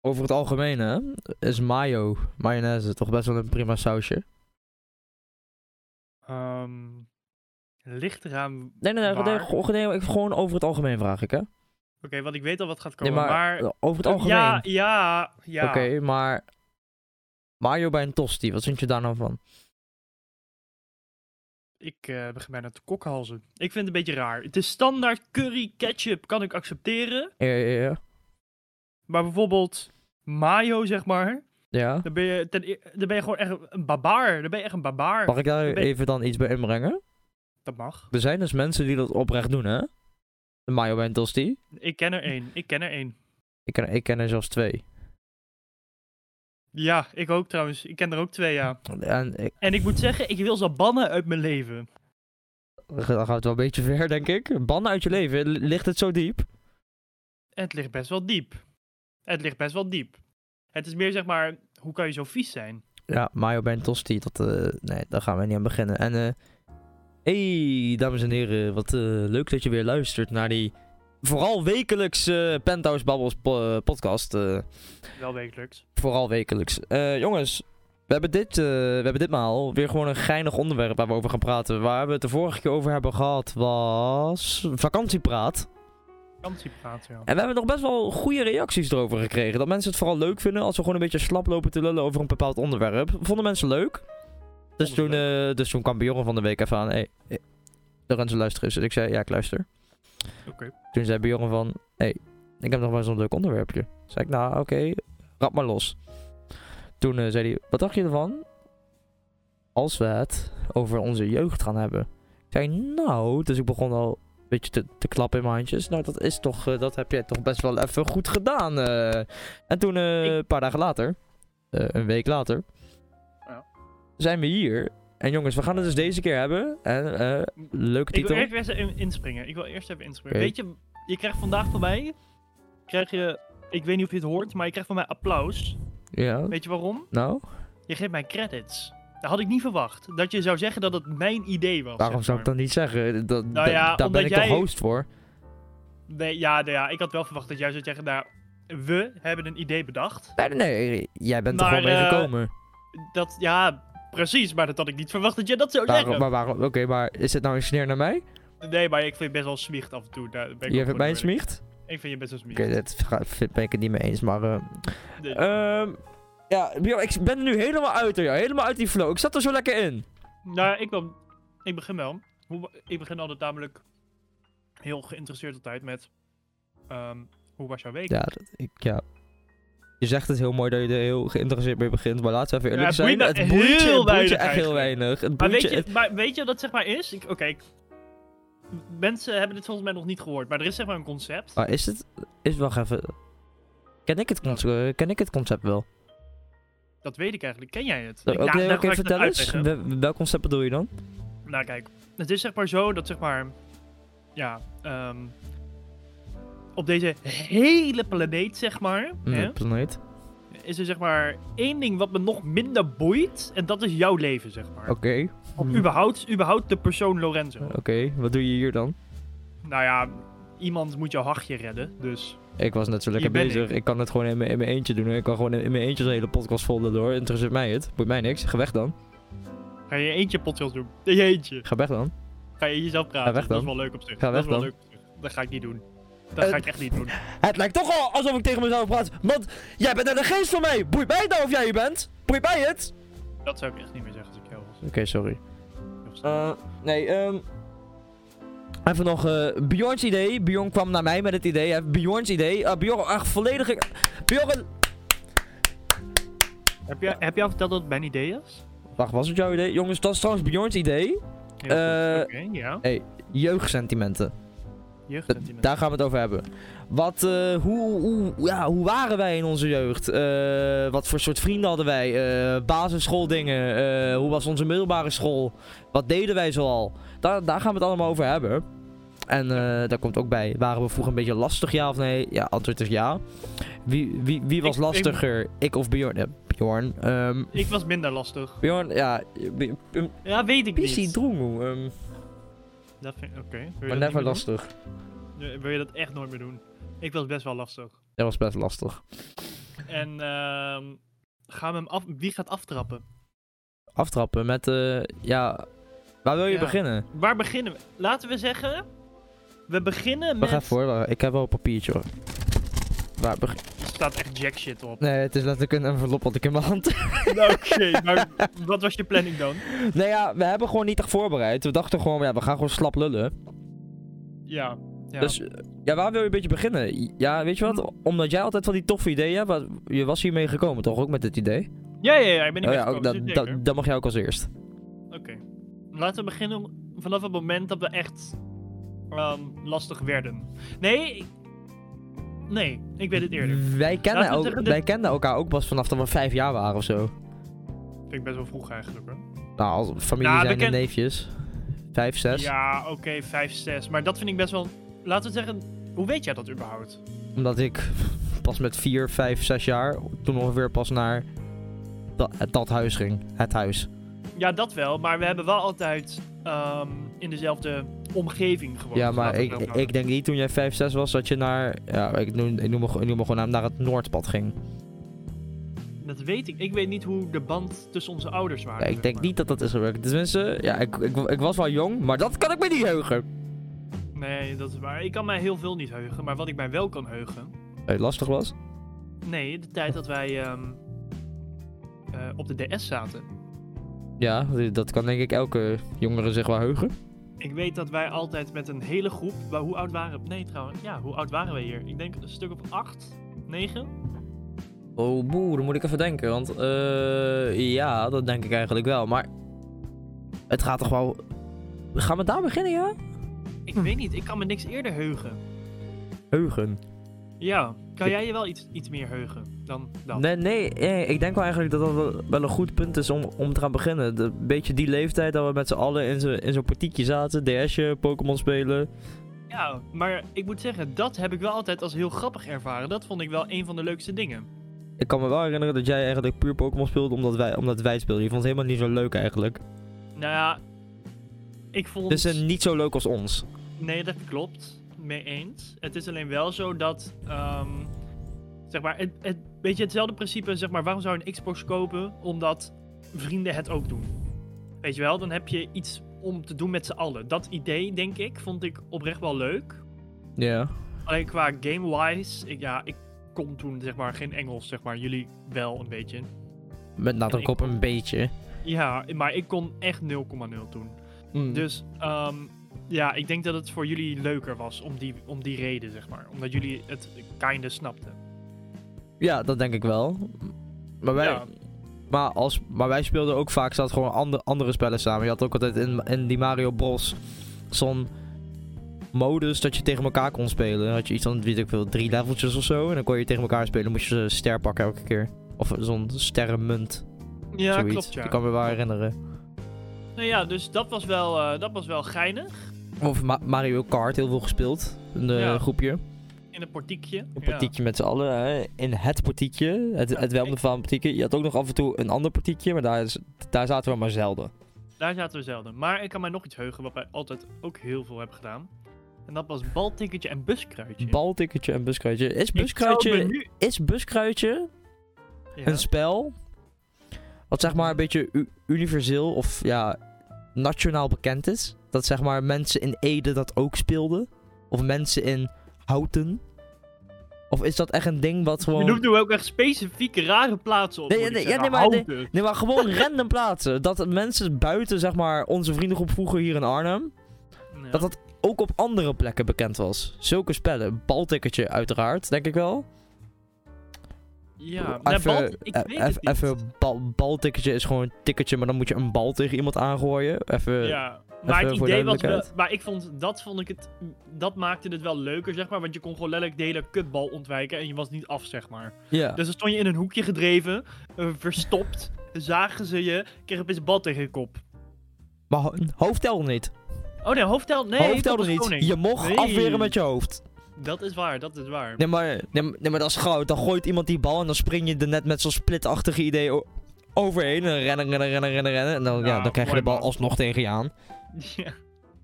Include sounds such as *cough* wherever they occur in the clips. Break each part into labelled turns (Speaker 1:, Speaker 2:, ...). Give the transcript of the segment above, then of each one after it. Speaker 1: over het algemeen hè, is mayo, mayonaise, toch best wel een prima sausje.
Speaker 2: Ehm ligt eraan. Oké,
Speaker 1: Nee, nee, nee,
Speaker 2: Waar?
Speaker 1: gewoon- gewoon- ik- gewoon over het algemeen vraag ik hè.
Speaker 2: want ik weet al wat gaat
Speaker 1: Nee,
Speaker 2: komen.
Speaker 1: maar,
Speaker 2: maar...
Speaker 1: over het algemeen.
Speaker 2: Ja, ja, ja.
Speaker 1: Oké, maar mayo bij een tosti, wat vind je daar nou van?
Speaker 2: Ik eh, begin bijna te kokhalzen. Ik vind het een beetje raar. Het is standaard curry ketchup, kan ik accepteren.
Speaker 1: Ja, ja, ja.
Speaker 2: Maar bijvoorbeeld mayo, zeg maar.
Speaker 1: ja.
Speaker 2: Dan ben je, ten, e- dan ben je gewoon echt een barbaar. Dan ben je echt een barbaar.
Speaker 1: Mag ik daar
Speaker 2: ben-
Speaker 1: even dan iets bij inbrengen?
Speaker 2: Dat mag.
Speaker 1: Er zijn dus mensen die dat oprecht doen hè. De mayo bij een tosti.
Speaker 2: Ik ken er één. Ik ken er één.
Speaker 1: Ik ken, ik ken er zelfs twee.
Speaker 2: Ja, ik ook trouwens. Ik ken er ook twee, ja.
Speaker 1: En ik,
Speaker 2: En ik moet zeggen, ik wil ze bannen uit mijn leven.
Speaker 1: dan gaat het wel een beetje ver, denk ik. Bannen uit je leven, L- ligt het zo diep?
Speaker 2: Het ligt best wel diep. Het ligt best wel diep. Het is meer zeg maar, hoe kan je zo vies zijn?
Speaker 1: Ja, Mayo bij een tosti, dat, eh, nee, daar gaan we niet aan beginnen. En, eh, hey, dames en heren, wat eh, leuk dat je weer luistert naar die vooral wekelijks eh, Penthouse Babbels po- eh, podcast. eh,
Speaker 2: Wel wekelijks.
Speaker 1: vooral wekelijks. Eh, jongens, we hebben, dit, eh, we hebben ditmaal weer gewoon een geinig onderwerp waar we over gaan praten. Waar we het de vorige keer over hebben gehad was vakantiepraat.
Speaker 2: Vakantiepraat, ja.
Speaker 1: En we hebben nog best wel goede reacties erover gekregen. Dat mensen het vooral leuk vinden als we gewoon een beetje slap lopen te lullen over een bepaald onderwerp. Vonden mensen leuk. Dus
Speaker 2: Vonden ze
Speaker 1: toen, eh, dus toen kwam Bjorn van de week even aan. Hey, hey, Lorenzo luister eens. Dus ik zei, ja ik luister.
Speaker 2: Oké.
Speaker 1: Toen zei Bjorn van, hey, ik heb nog wel zo'n leuk onderwerpje. Zei ik, nou oké, rap maar los. Toen eh, zei hij, wat dacht je ervan? Als we het over onze jeugd gaan hebben. Ik zei, nou, dus ik begon al een beetje te, te klappen in mijn handjes. Nou, dat is toch, eh, dat heb jij toch best wel even goed gedaan. eh. En toen, eh,
Speaker 2: Ik-
Speaker 1: een paar dagen later, eh, een week later,
Speaker 2: Ja.
Speaker 1: zijn we hier. En jongens, we gaan het dus deze keer hebben. En, eh, leuke
Speaker 2: Ik
Speaker 1: titel.
Speaker 2: wil eerst even in- inspringen. Ik wil eerst even inspringen.
Speaker 1: Oké.
Speaker 2: Weet je, je krijgt vandaag van mij, krijg je, ik weet niet of je het hoort, maar je krijgt van mij applaus.
Speaker 1: Ja,
Speaker 2: Weet je waarom?
Speaker 1: nou,
Speaker 2: Je geeft mij credits. Dat had ik niet verwacht. Dat je zou zeggen dat het mijn idee was.
Speaker 1: waarom
Speaker 2: zeg
Speaker 1: zou ik
Speaker 2: maar.
Speaker 1: dat niet zeggen? Dat,
Speaker 2: Nou ja,
Speaker 1: da- daar ben
Speaker 2: omdat
Speaker 1: ik
Speaker 2: jij-
Speaker 1: de host voor.
Speaker 2: Nee, ja, nou ja, ik had wel verwacht dat jij zou zeggen, nou, we hebben een idee bedacht.
Speaker 1: Nee, nee, nee, jij bent
Speaker 2: Maar,
Speaker 1: er gewoon mee
Speaker 2: eh,
Speaker 1: gekomen.
Speaker 2: Dat, ja, precies, maar dat had ik niet verwacht dat jij dat zou
Speaker 1: Waarom,
Speaker 2: zeggen.
Speaker 1: maar waarom, oké, maar is dit nou een sneer naar mij?
Speaker 2: Nee, maar ik vind je best wel smiecht af en toe. Daar ben ik ook
Speaker 1: Je
Speaker 2: gewoon
Speaker 1: vindt mij een
Speaker 2: eerlijk.
Speaker 1: smiecht?
Speaker 2: Ik vind je best wel smiecht.
Speaker 1: Oké, dat ga- vind- ben ik het niet mee eens, maar... eh,
Speaker 2: Nee.
Speaker 1: Ehm, ja, Bjorn, ik ben er nu helemaal uit, hoor, ja. helemaal uit die flow. Ik zat er zo lekker in.
Speaker 2: Nou, ik, wel, ik begin wel. Hoe, ik begin altijd namelijk heel geïnteresseerd altijd met... ehm, hoe was jouw week?
Speaker 1: Ja, dat- ik, ja. Je zegt het heel mooi dat je er heel geïnteresseerd mee begint, maar laten we even
Speaker 2: Ja,
Speaker 1: eerlijk
Speaker 2: het boeit
Speaker 1: zijn.
Speaker 2: me
Speaker 1: Het boeit, je,
Speaker 2: heel
Speaker 1: het boeit je
Speaker 2: weinig
Speaker 1: echt heel
Speaker 2: eigenlijk.
Speaker 1: weinig. Het
Speaker 2: maar,
Speaker 1: boeit
Speaker 2: weet je,
Speaker 1: het-
Speaker 2: maar weet je wat dat zeg maar is? Ik- Oké, ik- mensen hebben dit volgens mij nog niet gehoord, maar er is zeg maar een concept.
Speaker 1: Maar is het... Is, wacht even. Ken ik het, concept, ken ik het concept wel?
Speaker 2: Dat weet ik eigenlijk. Ken jij het?
Speaker 1: Oké,
Speaker 2: Ik-
Speaker 1: Eh, oké,
Speaker 2: nou, nou ga ik het
Speaker 1: vertel eens.
Speaker 2: uitleggen.
Speaker 1: Wel- Welk concept bedoel je dan?
Speaker 2: Nou, kijk. Het is zeg maar zo dat zeg maar. Ja. ehm, op deze hele planeet, zeg maar.
Speaker 1: Nee,
Speaker 2: Hè,
Speaker 1: planeet.
Speaker 2: is er zeg maar één ding wat me nog minder boeit. En dat is jouw leven, zeg maar.
Speaker 1: Oké.
Speaker 2: Of
Speaker 1: Hmm.
Speaker 2: überhaupt, überhaupt de persoon Lorenzo.
Speaker 1: Oké, wat doe je hier dan?
Speaker 2: Nou ja, iemand moet jouw hachje redden. Dus.
Speaker 1: Ik was net zo lekker
Speaker 2: Hier ben
Speaker 1: bezig. Ik.
Speaker 2: ik.
Speaker 1: kan het gewoon in mijn in mijn eentje doen. hoor. Ik kan gewoon in in mijn eentje zo'n hele podcast volden door. Interesseert mij het. Boeit mij niks. Ga weg dan.
Speaker 2: Ga je eentje podcast doen? *laughs* In je eentje.
Speaker 1: Ga weg dan.
Speaker 2: Ga je jezelf praten?
Speaker 1: weg
Speaker 2: Dat is
Speaker 1: dan.
Speaker 2: wel leuk op zich.
Speaker 1: Ga
Speaker 2: dat
Speaker 1: weg
Speaker 2: is wel
Speaker 1: dan.
Speaker 2: leuk. op zich. Dat ga ik niet doen. Dat
Speaker 1: Eh,
Speaker 2: ga ik echt niet doen.
Speaker 1: Het lijkt toch al alsof ik tegen mezelf praat. Want jij bent de geest van mij. Boeit mij nou of jij hier bent? Boeit mij het?
Speaker 2: Dat zou ik echt niet meer zeggen als ik jou was.
Speaker 1: Oké, sorry. Eh, nee, ehm... Even nog eh Bjorns idee. Bjorn kwam naar mij met het idee. Hij heeft Bjorns idee. Eh, Bjorn, echt volledig... ge- Bjorn...
Speaker 2: Heb, jij, heb jij al verteld dat het mijn idee is?
Speaker 1: Wacht, was het jouw idee? Jongens, dat is trouwens Bjorns idee.
Speaker 2: Heel goed,
Speaker 1: Eh,
Speaker 2: Oké, ja.
Speaker 1: Jeugdsentimenten.
Speaker 2: Jeugdsentiment.
Speaker 1: Daar gaan we het over hebben. Wat, eh, hoe, hoe, ja, hoe waren wij in onze jeugd? Eh, wat voor soort vrienden hadden wij? Eh, basisschooldingen? Eh, hoe was onze middelbare school? Wat deden wij zoal? Daar, daar gaan we het allemaal over hebben. En eh, daar komt ook bij, waren we vroeger een beetje lastig, ja of nee? Ja, antwoord is ja. Wie, wie, wie was
Speaker 2: Ik- ik-
Speaker 1: lastiger? Ik, of Bjorn? Eh, Bjorn. ehm,
Speaker 2: ik was minder lastig.
Speaker 1: Bjorn, ja. Bj- ehm,
Speaker 2: Ja, weet ik
Speaker 1: Pissie
Speaker 2: niet.
Speaker 1: Droemoe. ehm,
Speaker 2: Dat vind ik, oké. Wil je dat
Speaker 1: maar
Speaker 2: niet meer
Speaker 1: never
Speaker 2: doen?
Speaker 1: lastig.
Speaker 2: Nee, Wil je dat echt nooit meer doen? Ik was best wel lastig.
Speaker 1: Dat was best lastig.
Speaker 2: En En ehm, gaan we hem af... Wie gaat aftrappen?
Speaker 1: Aftrappen met, eh, ja, waar wil je
Speaker 2: Ja.
Speaker 1: beginnen?
Speaker 2: Waar beginnen we? Laten we zeggen... We beginnen met...
Speaker 1: Wacht even hoor, wacht, ik heb wel een papiertje hoor. Waar beg-
Speaker 2: Er staat echt jack shit
Speaker 1: *laughs*
Speaker 2: op.
Speaker 1: nee, het is letterlijk een envelop wat ik in mijn hand *laughs*
Speaker 2: Nou, Oké, maar wat was je planning dan?
Speaker 1: Nou ja, we hebben gewoon niet echt voorbereid. We dachten gewoon, ja, we gaan gewoon slap lullen.
Speaker 2: Ja. ja.
Speaker 1: Dus eh, ja, waar wil je een beetje beginnen? Ja, weet je wat? Omdat jij altijd van die toffe ideeën hebt. wat- Je was hiermee gekomen, toch? Ook met dit idee?
Speaker 2: ja, ja, ja, ik ben niet
Speaker 1: Oh
Speaker 2: meer
Speaker 1: ja, ook,
Speaker 2: gekomen,
Speaker 1: dat,
Speaker 2: dus
Speaker 1: dat,
Speaker 2: zeker.
Speaker 1: dat mag jij ook als eerst.
Speaker 2: Oké. Laten we beginnen vanaf het moment dat we echt ehm, lastig werden. Nee, ik- nee, ik weet het eerder.
Speaker 1: Wij kennen,
Speaker 2: Laten we
Speaker 1: ook,
Speaker 2: zeggen dat-
Speaker 1: wij kenden elkaar ook pas vanaf dat we vijf jaar waren of zo.
Speaker 2: Vind ik best wel vroeg eigenlijk hoor.
Speaker 1: Nou, als familie
Speaker 2: Nou, we
Speaker 1: zijn en
Speaker 2: kennen-
Speaker 1: neefjes. Vijf, zes.
Speaker 2: Ja, oké, 5, 6. Maar dat vind ik best wel. Laten we zeggen, hoe weet jij dat überhaupt?
Speaker 1: Omdat ik pas met vier, vijf, zes jaar toen ongeveer pas naar dat, dat huis ging. Het huis.
Speaker 2: Ja, dat wel, maar we hebben wel altijd ehm, in dezelfde omgeving gewoond.
Speaker 1: ja, maar
Speaker 2: Laten we
Speaker 1: ik,
Speaker 2: het daarop
Speaker 1: ik denk niet toen jij vijf, zes was dat je naar... Ja, ik noem, ik noem, me, gewoon- ik noem me gewoon naar- naar het Noordpad ging.
Speaker 2: houden. Dat weet ik. Ik weet niet hoe de band tussen onze ouders waren.
Speaker 1: Ja, ik
Speaker 2: zeg
Speaker 1: denk
Speaker 2: maar.
Speaker 1: niet dat dat is gebeurd. Tenminste, ja, ik, ik, ik was wel jong, maar dat kan ik me niet heugen.
Speaker 2: Nee, dat is waar. Ik kan mij heel veel niet heugen, maar wat ik mij wel kan heugen.
Speaker 1: Hey, lastig was.
Speaker 2: Nee, de tijd dat wij ehm, eh, op de DS zaten.
Speaker 1: Ja, dat kan denk ik elke jongere zich wel heugen.
Speaker 2: Ik weet dat wij altijd met een hele groep. wa- Hoe oud waren we? Nee, trouwens. Ja, hoe oud waren we hier? Ik denk een stuk of acht, negen.
Speaker 1: Oh boer, dan moet ik even denken, want eh, ja, dat denk ik eigenlijk wel. Maar het gaat toch wel... Gaan we daar beginnen, ja?
Speaker 2: Ik
Speaker 1: Hm.
Speaker 2: weet niet, ik kan me niks eerder heugen.
Speaker 1: Heugen.
Speaker 2: Ja, kan
Speaker 1: Ik-
Speaker 2: jij je wel iets, iets meer heugen dan dat?
Speaker 1: Nee, nee, eh, ik denk wel eigenlijk dat dat wel- wel een goed punt is om, om te gaan beginnen. De, beetje die leeftijd dat we met z'n allen in zo'n in zo'n partiekje zaten, DS'je, Pokémon spelen.
Speaker 2: Ja, maar ik moet zeggen, dat heb ik wel altijd als heel grappig ervaren. Dat vond ik wel een van de leukste dingen.
Speaker 1: Ik kan me wel herinneren dat jij eigenlijk puur Pokémon speelde omdat wij, omdat wij speelden. Je vond het helemaal niet zo leuk eigenlijk.
Speaker 2: Nou ja, ik vond.
Speaker 1: Dus eh, niet zo leuk als ons.
Speaker 2: Nee, dat klopt. Mee eens. Het is alleen wel zo dat. ehm, zeg maar, het, het, weet je, hetzelfde principe. Zeg maar, waarom zou je een Xbox kopen? Omdat vrienden het ook doen. Weet je wel, dan heb je iets om te doen met z'n allen. Dat idee, denk ik, vond ik oprecht wel leuk.
Speaker 1: Ja.
Speaker 2: Alleen qua game-wise, ik, ja, ik kon toen zeg maar geen Engels, zeg maar. Jullie wel een beetje.
Speaker 1: Met nadruk op een beetje.
Speaker 2: Ja, maar ik kon echt 0,0 toen.
Speaker 1: Mhm.
Speaker 2: Dus ehm, ja, ik denk dat het voor jullie leuker was om die, om die reden, zeg maar. Omdat jullie het kinder snapten.
Speaker 1: Ja, dat denk ik wel. Maar wij,
Speaker 2: Ja,
Speaker 1: maar als, maar wij speelden ook vaak zat gewoon ander, andere spellen samen. Je had ook altijd in, in die Mario Bros. zo'n modus dat je tegen elkaar kon spelen. Dan had je iets van, weet ik veel, drie leveltjes of zo. En dan kon je tegen elkaar spelen. Dan moest je zo'n ster pakken elke keer. Of zo'n sterrenmunt.
Speaker 2: ja
Speaker 1: zoiets.
Speaker 2: klopt, ja.
Speaker 1: Ik kan me wel herinneren.
Speaker 2: Nou ja, dus dat was wel, eh, dat was wel geinig.
Speaker 1: Of Ma- Mario Kart, heel veel gespeeld. Een eh,
Speaker 2: Ja.
Speaker 1: groepje.
Speaker 2: In een portiekje.
Speaker 1: Een
Speaker 2: Ja.
Speaker 1: partiekje met z'n allen, hè? in het partiekje, het, het welbekende van partiekje. Je had ook nog af en toe een ander partiekje, maar daar, is- daar zaten we maar zelden.
Speaker 2: Daar zaten we zelden. Maar ik kan mij nog iets heugen wat wij altijd ook heel veel hebben gedaan. En dat was baltikketje en buskruidje.
Speaker 1: Baltikketje en buskruidje. Is
Speaker 2: Ik zou het
Speaker 1: buskruidje,
Speaker 2: menu-
Speaker 1: is buskruidje
Speaker 2: Ja.
Speaker 1: een spel wat zeg maar een beetje u- universeel of ja, nationaal bekend is? Dat zeg maar mensen in Ede dat ook speelden? Of mensen in Houten? Of is dat echt een ding wat
Speaker 2: Je
Speaker 1: gewoon...
Speaker 2: noemt nu ook echt specifieke rare plaatsen op.
Speaker 1: Nee,
Speaker 2: moet ik
Speaker 1: nee, ja,
Speaker 2: zeggen.
Speaker 1: nee, maar- nee.
Speaker 2: Houten.
Speaker 1: Nee, maar gewoon *laughs* random plaatsen. Dat mensen buiten, zeg maar, onze vriendengroep vroeger hier in Arnhem,
Speaker 2: Ja.
Speaker 1: dat dat ook op andere plekken bekend was. Zulke spellen. Baltikketje uiteraard, denk ik wel.
Speaker 2: Ja, nou,
Speaker 1: Even-
Speaker 2: balt- ik
Speaker 1: e-
Speaker 2: weet het
Speaker 1: even-
Speaker 2: niet.
Speaker 1: Even bal, baltikketje is gewoon een tikketje, maar dan moet je een bal tegen iemand aangooien. Even,
Speaker 2: ja,
Speaker 1: voor
Speaker 2: maar het idee was wel,
Speaker 1: duidelijkheid.
Speaker 2: maar ik vond dat vond ik het, dat maakte het wel leuker zeg maar, want je kon gewoon letterlijk de hele kutbal ontwijken en je was niet af zeg maar.
Speaker 1: ja.
Speaker 2: Dus dan stond je in een hoekje gedreven, eh, verstopt, zagen ze je, kreeg opeens een bal tegen je kop.
Speaker 1: Maar ho- hoofd telde niet.
Speaker 2: Oh nee, hoofd telt, nee,
Speaker 1: hoofd telde
Speaker 2: dat
Speaker 1: dus niet.
Speaker 2: was koning.
Speaker 1: Je mocht
Speaker 2: Nee.
Speaker 1: afweren met je hoofd.
Speaker 2: Dat is waar, dat is waar.
Speaker 1: Nee maar, nee, maar- nee, maar dat is goud. Dan gooit iemand die bal en dan spring je er net met zo'n splitachtige idee o- overheen. En dan rennen, rennen, rennen, rennen, rennen. En dan, ja,
Speaker 2: Ja,
Speaker 1: dan krijg je
Speaker 2: mooi
Speaker 1: de bal
Speaker 2: man. *laughs*
Speaker 1: alsnog tegen je aan.
Speaker 2: Ja.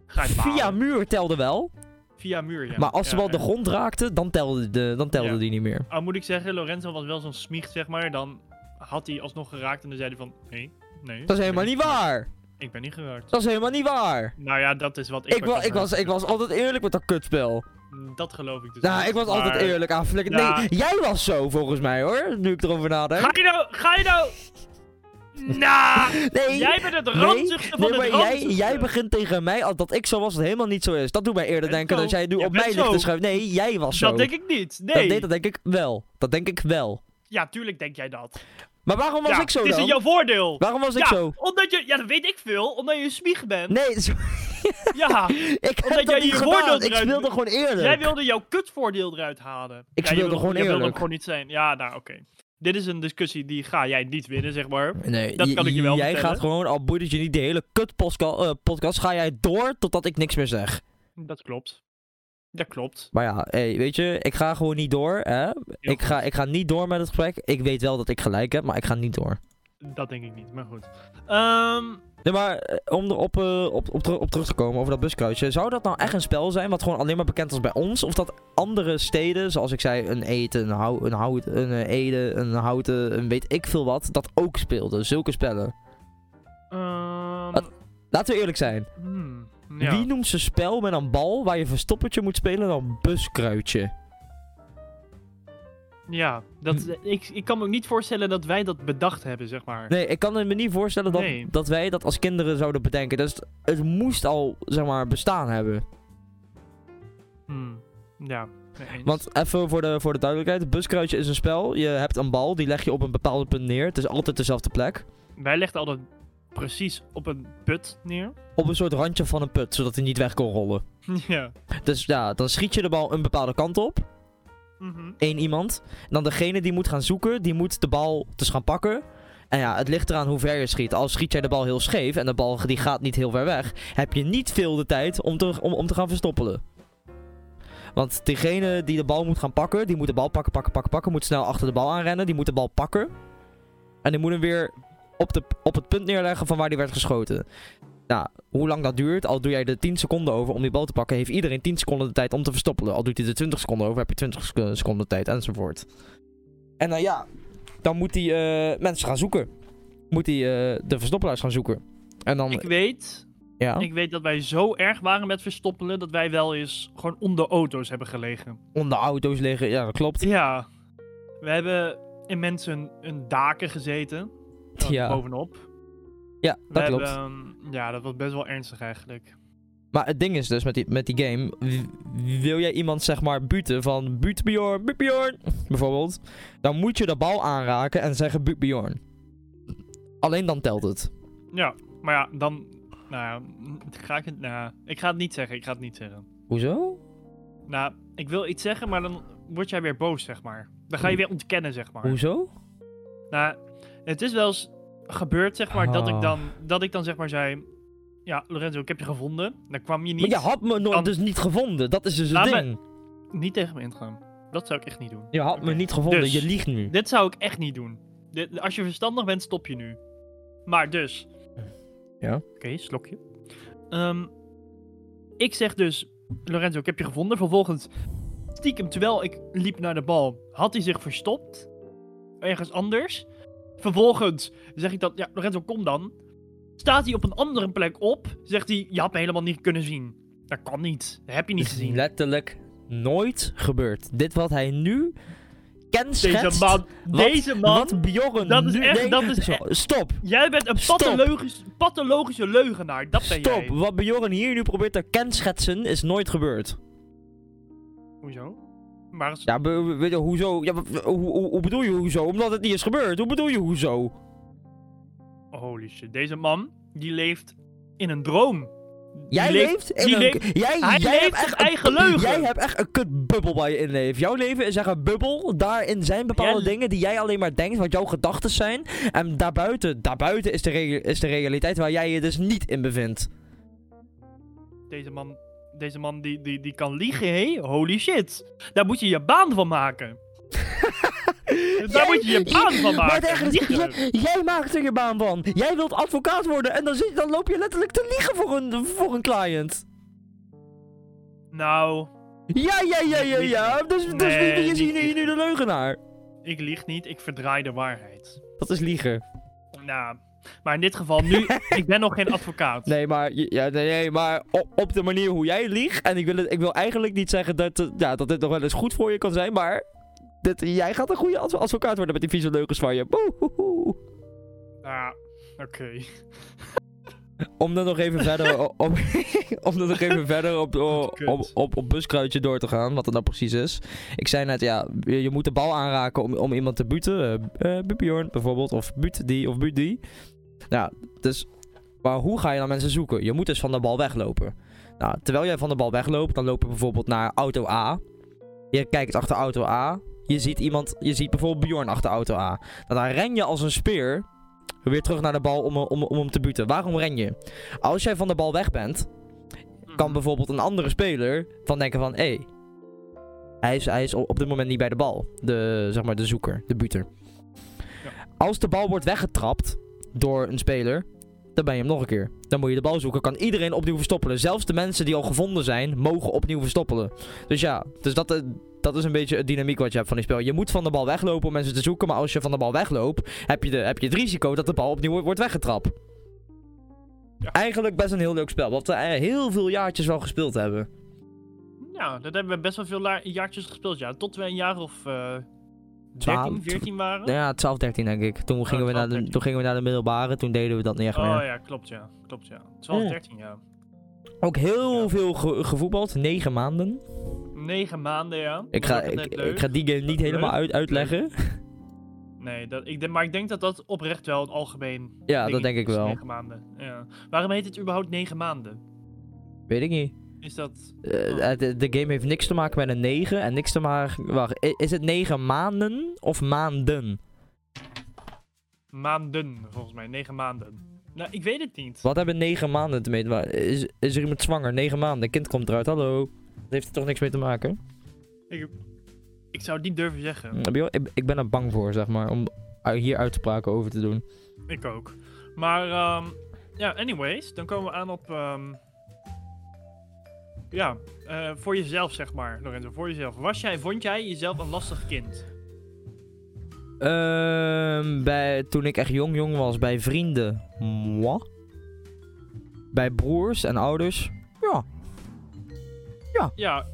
Speaker 2: Ga je
Speaker 1: Via
Speaker 2: balen.
Speaker 1: muur telde wel.
Speaker 2: via muur, ja.
Speaker 1: maar als de
Speaker 2: Ja,
Speaker 1: bal de
Speaker 2: ja.
Speaker 1: grond raakte, dan telde, de, dan telde
Speaker 2: Ja.
Speaker 1: die niet meer.
Speaker 2: Al moet ik zeggen, Lorenzo was wel zo'n smiecht, zeg maar. Dan had hij alsnog geraakt en dan zei hij van... Nee, nee.
Speaker 1: Dat is
Speaker 2: ik ben
Speaker 1: helemaal niet waar.
Speaker 2: Ik ben niet geraakt.
Speaker 1: Dat is helemaal niet waar.
Speaker 2: Nou ja, dat is wat ik...
Speaker 1: Ik, wa- ik, was, ik was altijd eerlijk met dat kutspel.
Speaker 2: Dat geloof ik dus
Speaker 1: Nou,
Speaker 2: niet,
Speaker 1: ik was altijd
Speaker 2: maar-
Speaker 1: eerlijk aan flikken.
Speaker 2: Ja.
Speaker 1: Nee, jij was zo volgens mij hoor, nu ik erover nadenk.
Speaker 2: Ga je nou... Ga je nou... Nou,
Speaker 1: Nee,
Speaker 2: jij bent het
Speaker 1: nee,
Speaker 2: ranzigste
Speaker 1: nee,
Speaker 2: van
Speaker 1: maar
Speaker 2: het
Speaker 1: jij,
Speaker 2: ranzigste.
Speaker 1: jij begint tegen mij al dat ik zo was, dat helemaal niet zo is. Dat doet mij eerder
Speaker 2: Bent
Speaker 1: denken
Speaker 2: zo.
Speaker 1: dat jij nu
Speaker 2: Je
Speaker 1: op
Speaker 2: bent
Speaker 1: mij ligt
Speaker 2: zo.
Speaker 1: te schuiven. Nee, jij was zo.
Speaker 2: Dat denk ik niet.
Speaker 1: Dat,
Speaker 2: Nee.
Speaker 1: nee, dat denk ik wel. Dat denk ik wel.
Speaker 2: Ja, tuurlijk denk jij dat.
Speaker 1: Maar waarom was
Speaker 2: ja,
Speaker 1: ik zo
Speaker 2: Het is in
Speaker 1: dan?
Speaker 2: jouw voordeel.
Speaker 1: Waarom was ik
Speaker 2: ja,
Speaker 1: zo?
Speaker 2: Omdat je, ja, dat weet ik veel. Omdat je een smieg bent.
Speaker 1: Nee, *laughs* zo- *laughs*
Speaker 2: Ja,
Speaker 1: ik heb
Speaker 2: Omdat
Speaker 1: dat
Speaker 2: jij
Speaker 1: niet
Speaker 2: je
Speaker 1: gedaan.
Speaker 2: voordeel
Speaker 1: Ik
Speaker 2: eruit-
Speaker 1: speelde gewoon eerlijk.
Speaker 2: jij wilde jouw kutvoordeel eruit halen.
Speaker 1: Ik
Speaker 2: ja, je
Speaker 1: speelde
Speaker 2: wilde-
Speaker 1: gewoon
Speaker 2: jij wilde ook
Speaker 1: eerlijk.
Speaker 2: gewoon niet zijn. Ja, nou, oké. Dit is een discussie die ga jij niet winnen, zeg maar.
Speaker 1: Nee,
Speaker 2: Dat kan ik je wel
Speaker 1: Jij
Speaker 2: vertellen.
Speaker 1: gaat gewoon, al boeit het je niet de hele kut postka- eh, podcast, ga jij door totdat ik niks meer zeg.
Speaker 2: Dat klopt. Dat klopt.
Speaker 1: Maar ja, hey, weet je, ik ga gewoon niet door, hè.
Speaker 2: Heel
Speaker 1: Ik ga,
Speaker 2: goed.
Speaker 1: ik ga niet door met het gesprek. Ik weet wel dat ik gelijk heb, maar ik ga niet door.
Speaker 2: Dat denk ik niet, maar goed. Ehm,
Speaker 1: Nee, maar eh, om erop eh, op, op, teru- op terug te komen over dat buskruisje. Zou dat nou echt een spel zijn wat gewoon alleen maar bekend was bij ons? Of dat andere steden, zoals ik zei, een eten, een, hou, een, hout, een eh, ede, een houten, een weet ik veel wat, dat ook speelden? Zulke spellen.
Speaker 2: ehm,
Speaker 1: Wat? Laten we eerlijk zijn.
Speaker 2: hmm, ja.
Speaker 1: Wie noemt zijn spel met een bal waar je verstoppertje moet spelen dan buskruidje?
Speaker 2: Ja,
Speaker 1: Hm.
Speaker 2: dat, ik, ik kan me ook niet voorstellen dat wij dat bedacht hebben, zeg maar.
Speaker 1: Nee, ik kan me niet voorstellen dat,
Speaker 2: Nee.
Speaker 1: dat wij dat als kinderen zouden bedenken. Dus het, het moest al, zeg maar, bestaan hebben.
Speaker 2: Hmm, ja, mee eens.
Speaker 1: Want even voor de, voor de duidelijkheid: buskruidje is een spel. Je hebt een bal, die leg je op een bepaald punt neer. Het is altijd dezelfde plek.
Speaker 2: Wij legden altijd precies op een put neer. *laughs*
Speaker 1: Op een soort randje van een put, zodat hij niet weg kon rollen.
Speaker 2: ja.
Speaker 1: Dus ja, dan schiet je de bal een bepaalde kant op.
Speaker 2: Mhm.
Speaker 1: Eén iemand. En dan degene die moet gaan zoeken, die moet de bal dus gaan pakken. En ja, het ligt eraan hoe ver je schiet. Als schiet jij de bal heel scheef en de bal die gaat niet heel ver weg, heb je niet veel de tijd om te, om, om te gaan verstoppelen. Want degene die de bal moet gaan pakken, die moet de bal pakken, pakken, pakken, pakken. Moet snel achter de bal aanrennen, die moet de bal pakken. En die moet hem weer op, de, op het punt neerleggen van waar die werd geschoten. Nou, hoe lang dat duurt, al doe jij er 10 seconden over om die bal te pakken, heeft iedereen 10 seconden de tijd om te verstoppelen. Al doet hij er 20 seconden over, heb je 20 sec- seconden tijd, enzovoort. En dan ja, dan moet hij eh, mensen gaan zoeken. Moet hij eh, de verstoppelaars gaan zoeken. En dan,
Speaker 2: Ik weet,
Speaker 1: ja,
Speaker 2: ik weet dat wij zo erg waren met verstoppelen dat wij wel eens gewoon onder auto's hebben gelegen.
Speaker 1: onder auto's liggen, ja, dat klopt.
Speaker 2: Ja. We hebben in mensen een, een daken gezeten. eh,
Speaker 1: Ja.
Speaker 2: Bovenop.
Speaker 1: Ja,
Speaker 2: We
Speaker 1: dat klopt.
Speaker 2: hebben, ehm, ja, dat was best wel ernstig eigenlijk.
Speaker 1: Maar het ding is dus met die, met die game, w- wil jij iemand zeg maar buten van buut Bjorn, buut Bjorn, bijvoorbeeld, dan moet je de bal aanraken en zeggen buut Bjorn. Alleen dan telt het.
Speaker 2: Ja, maar ja, dan... Nou ja, mm, ga ik het... Nou, ik ga het niet zeggen, ik ga het niet zeggen.
Speaker 1: Hoezo?
Speaker 2: Nou, ik wil iets zeggen, maar dan word jij weer boos, zeg maar. Dan ga je weer ontkennen, zeg maar.
Speaker 1: Hoezo?
Speaker 2: Nou, het is wel eens gebeurd, zeg maar, dat, ik
Speaker 1: Ah.
Speaker 2: dan, dat ik dan zeg maar zei... Ja, Lorenzo, ik heb je gevonden. Dan kwam je niet,
Speaker 1: Maar je had me nooit
Speaker 2: Dan-
Speaker 1: dus niet gevonden. Dat is dus het
Speaker 2: Laat me-
Speaker 1: ding.
Speaker 2: niet tegen me ingaan. Dat zou ik echt niet doen.
Speaker 1: Je had me
Speaker 2: Oké.
Speaker 1: niet gevonden.
Speaker 2: Dus-
Speaker 1: Je liegt nu.
Speaker 2: Dit zou ik echt niet doen. Dit- als je verstandig bent, stop je nu. Maar dus...
Speaker 1: Ja.
Speaker 2: Oké, slokje. Ehm, ik zeg dus, Lorenzo, ik heb je gevonden. Vervolgens, stiekem, terwijl ik liep naar de bal, had hij zich verstopt. Ergens anders. Vervolgens zeg ik dat, ja, Lorenzo, kom dan. Staat hij op een andere plek op, zegt hij, je had me helemaal niet kunnen zien. Dat kan niet. Dat heb je niet
Speaker 1: Dit is
Speaker 2: gezien.
Speaker 1: letterlijk nooit gebeurd. Dit wat hij nu kenschetst.
Speaker 2: Deze man, deze man,
Speaker 1: Wat Bjorn
Speaker 2: dat is
Speaker 1: nu-
Speaker 2: echt-
Speaker 1: nee,
Speaker 2: dat is
Speaker 1: zo,
Speaker 2: echt-
Speaker 1: Stop.
Speaker 2: jij bent een
Speaker 1: Stop.
Speaker 2: pathologisch, pathologische leugenaar. Dat ben
Speaker 1: Stop.
Speaker 2: jij.
Speaker 1: Wat Bjorn hier nu probeert te kenschetsen is nooit gebeurd.
Speaker 2: Hoezo? Maar als-
Speaker 1: Ja, be- be- weet je, hoezo? Ja, maar, hoe, hoe, hoe bedoel je hoezo? Omdat het niet is gebeurd. Hoe bedoel je hoezo?
Speaker 2: Holy shit, deze man, die leeft in een droom. Die
Speaker 1: Jij leeft, in
Speaker 2: die
Speaker 1: een...
Speaker 2: leeft-
Speaker 1: jij,
Speaker 2: hij
Speaker 1: jij
Speaker 2: leeft
Speaker 1: hebt echt
Speaker 2: zijn
Speaker 1: een-
Speaker 2: eigen leugen.
Speaker 1: Jij hebt echt een kutbubbel waar je in leeft. Jouw leven is echt een bubbel. Daarin zijn bepaalde
Speaker 2: Jij-
Speaker 1: dingen die jij alleen maar denkt, wat jouw gedachten zijn. En daarbuiten, daarbuiten is de, re- is de realiteit waar jij je dus niet in bevindt.
Speaker 2: Deze man, deze man die, die, die kan liegen, hé? Holy shit. Daar moet je je baan van maken. Dus Daar
Speaker 1: Jij-
Speaker 2: moet je je baan van
Speaker 1: Maar
Speaker 2: maken.
Speaker 1: het ergste is,
Speaker 2: Liegen.
Speaker 1: jij, jij maakt er je baan van. Jij wilt advocaat worden en dan, zit, dan loop je letterlijk te liegen voor een, voor een cliënt.
Speaker 2: Nou,
Speaker 1: Ja, ja, ja, ja, ja. Dus, dus
Speaker 2: Nee,
Speaker 1: wie- wie is
Speaker 2: niet
Speaker 1: hier nu- hier nu de leugenaar?
Speaker 2: ik lieg niet, ik verdraai de waarheid.
Speaker 1: Dat is liegen.
Speaker 2: Nou, maar in dit geval
Speaker 1: *laughs*
Speaker 2: nu, ik ben nog geen advocaat.
Speaker 1: Nee, maar, je- ja, nee, nee, maar op, op de manier hoe jij liegt. En ik wil, het, ik wil eigenlijk niet zeggen dat, het- ja, dat dit nog wel eens goed voor je kan zijn. Maar dit, jij gaat een goede adv- advocaat worden met die vieze leugens van je. Boehoehoe.
Speaker 2: Ah, oké.
Speaker 1: Om dan nog even verder, o- om, *laughs* om dan nog even verder op, o-
Speaker 2: Wat kut.
Speaker 1: op, op, op buskruidje door te gaan, wat het nou precies is. Ik zei net, ja, je je moet de bal aanraken om, om iemand te buten. eh eh, Bjorn bijvoorbeeld, of buut die, of buut die. Nou, dus, maar hoe ga je dan mensen zoeken? Je moet dus van de bal weglopen. Nou, terwijl jij van de bal wegloopt, dan loop je bijvoorbeeld naar auto A. Je kijkt achter auto A. Je ziet iemand, je ziet bijvoorbeeld Bjorn achter auto A. Nou, dan ren je als een speer weer terug naar de bal om, om, om hem te buten. Waarom ren je? Als jij van de bal weg bent,
Speaker 2: Mhm.
Speaker 1: kan bijvoorbeeld een andere speler van denken van... Hé, hij is, hij is op dit moment niet bij de bal. De, zeg maar, de zoeker, de buter.
Speaker 2: Ja.
Speaker 1: Als de bal wordt weggetrapt door een speler, dan ben je hem nog een keer. Dan moet je de bal zoeken. Kan iedereen opnieuw verstoppelen. Zelfs de mensen die al gevonden zijn, mogen opnieuw verstoppelen. Dus ja, dus dat, eh, dat is een beetje het dynamiek wat je hebt van die spel. Je moet van de bal weglopen om mensen te zoeken. Maar als je van de bal wegloopt, heb je, de, heb je het risico dat de bal opnieuw wordt weggetrapt.
Speaker 2: Ja.
Speaker 1: Eigenlijk best een heel leuk spel. Wat we eh, heel veel jaartjes wel gespeeld hebben.
Speaker 2: Nou, dat hebben we best wel veel la- jaartjes gespeeld, ja. Tot we een jaar of eh 13,
Speaker 1: Twaalf.
Speaker 2: 14 waren.
Speaker 1: Nou Ja, 12, 13 denk ik. Toen gingen, we
Speaker 2: 12,
Speaker 1: naar de,
Speaker 2: 13.
Speaker 1: toen gingen we naar de middelbare, toen deden we dat niet echt meer.
Speaker 2: Oh ja, klopt ja. Klopt ja. 12,
Speaker 1: Ja.
Speaker 2: 13 ja.
Speaker 1: Ook heel
Speaker 2: Ja.
Speaker 1: veel ge- gevoetbald, 9 maanden.
Speaker 2: 9 maanden ja.
Speaker 1: Ik
Speaker 2: Dat
Speaker 1: ga,
Speaker 2: maakt het
Speaker 1: ik,
Speaker 2: net
Speaker 1: ik
Speaker 2: leuk.
Speaker 1: ga die game niet
Speaker 2: Leuk.
Speaker 1: helemaal uit, uitleggen.
Speaker 2: Nee, dat, ik, denk- maar ik denk dat dat oprecht wel het algemeen...
Speaker 1: Ja, dat
Speaker 2: dingetje
Speaker 1: denk ik
Speaker 2: is,
Speaker 1: wel.
Speaker 2: 9 maanden. Ja. Waarom heet het überhaupt 9 maanden?
Speaker 1: Weet ik niet.
Speaker 2: Is dat...
Speaker 1: Eh, eh, de, de game heeft niks te maken met een 9 en niks te maken... Wacht, i- is het 9 maanden of maanden?
Speaker 2: Maanden, volgens mij. 9 maanden. Nou, ik weet het niet.
Speaker 1: Wat hebben 9 maanden te maken? Waar- Is, is er iemand zwanger? 9 maanden, een kind komt eruit, hallo. Dat heeft er toch niks mee te maken?
Speaker 2: Ik zou het niet durven zeggen.
Speaker 1: Hm, Heb je wel- Ik, ik ben er bang voor, zeg maar, om eh, hier uitspraken over te doen.
Speaker 2: Ik ook. Maar, ehm, ja, anyways, dan komen we aan op. ehm, ja, eh, voor jezelf zeg maar, Lorenzo. Voor jezelf. Was jij, vond jij jezelf een lastig kind?
Speaker 1: Ehm, bij, toen ik echt jong jong was, bij vrienden, moi. Bij broers en ouders, ja.
Speaker 2: Ja.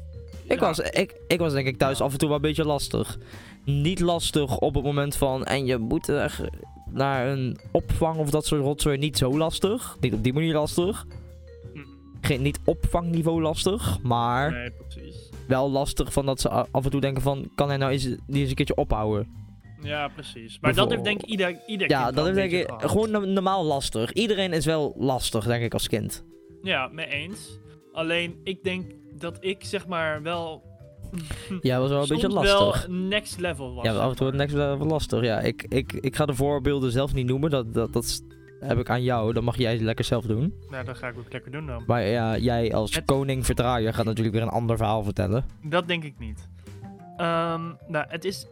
Speaker 1: Ik,
Speaker 2: ja,
Speaker 1: Was, ik, ik was denk ik thuis
Speaker 2: Ja.
Speaker 1: af en toe wel een beetje lastig. Niet lastig op het moment van, en je moet echt naar een opvang of dat soort rotzooi. Niet zo lastig, niet op die manier lastig.
Speaker 2: mm,
Speaker 1: Geen, niet opvangniveau lastig, maar
Speaker 2: Nee, precies.
Speaker 1: wel lastig van dat ze a- af en toe denken van, kan hij nou eens, die eens een keertje ophouden?
Speaker 2: Ja, precies. Maar dat heeft denk ik ieder, ieder
Speaker 1: Ja,
Speaker 2: kind
Speaker 1: dat
Speaker 2: wel
Speaker 1: is
Speaker 2: een
Speaker 1: denk
Speaker 2: beetje
Speaker 1: ik
Speaker 2: gehad.
Speaker 1: gewoon no- normaal lastig. Iedereen is wel lastig, denk ik, als kind.
Speaker 2: Ja, mee eens. Alleen, ik denk dat ik zeg maar wel...
Speaker 1: Ja, was wel een
Speaker 2: soms
Speaker 1: beetje lastig.
Speaker 2: wel next level was.
Speaker 1: ja,
Speaker 2: zeg
Speaker 1: af en toe
Speaker 2: maar.
Speaker 1: wordt het next wel lastig. Ja, ik, ik, ik ga de voorbeelden zelf niet noemen. Dat, dat, dat is- heb ik aan jou. Dat mag jij lekker zelf doen.
Speaker 2: Nou, dat ga ik ook lekker doen dan.
Speaker 1: Maar ja, jij als
Speaker 2: Het-
Speaker 1: koning verdraaier gaat natuurlijk weer een ander verhaal vertellen.
Speaker 2: Dat denk ik niet. Ehm, nou, het is.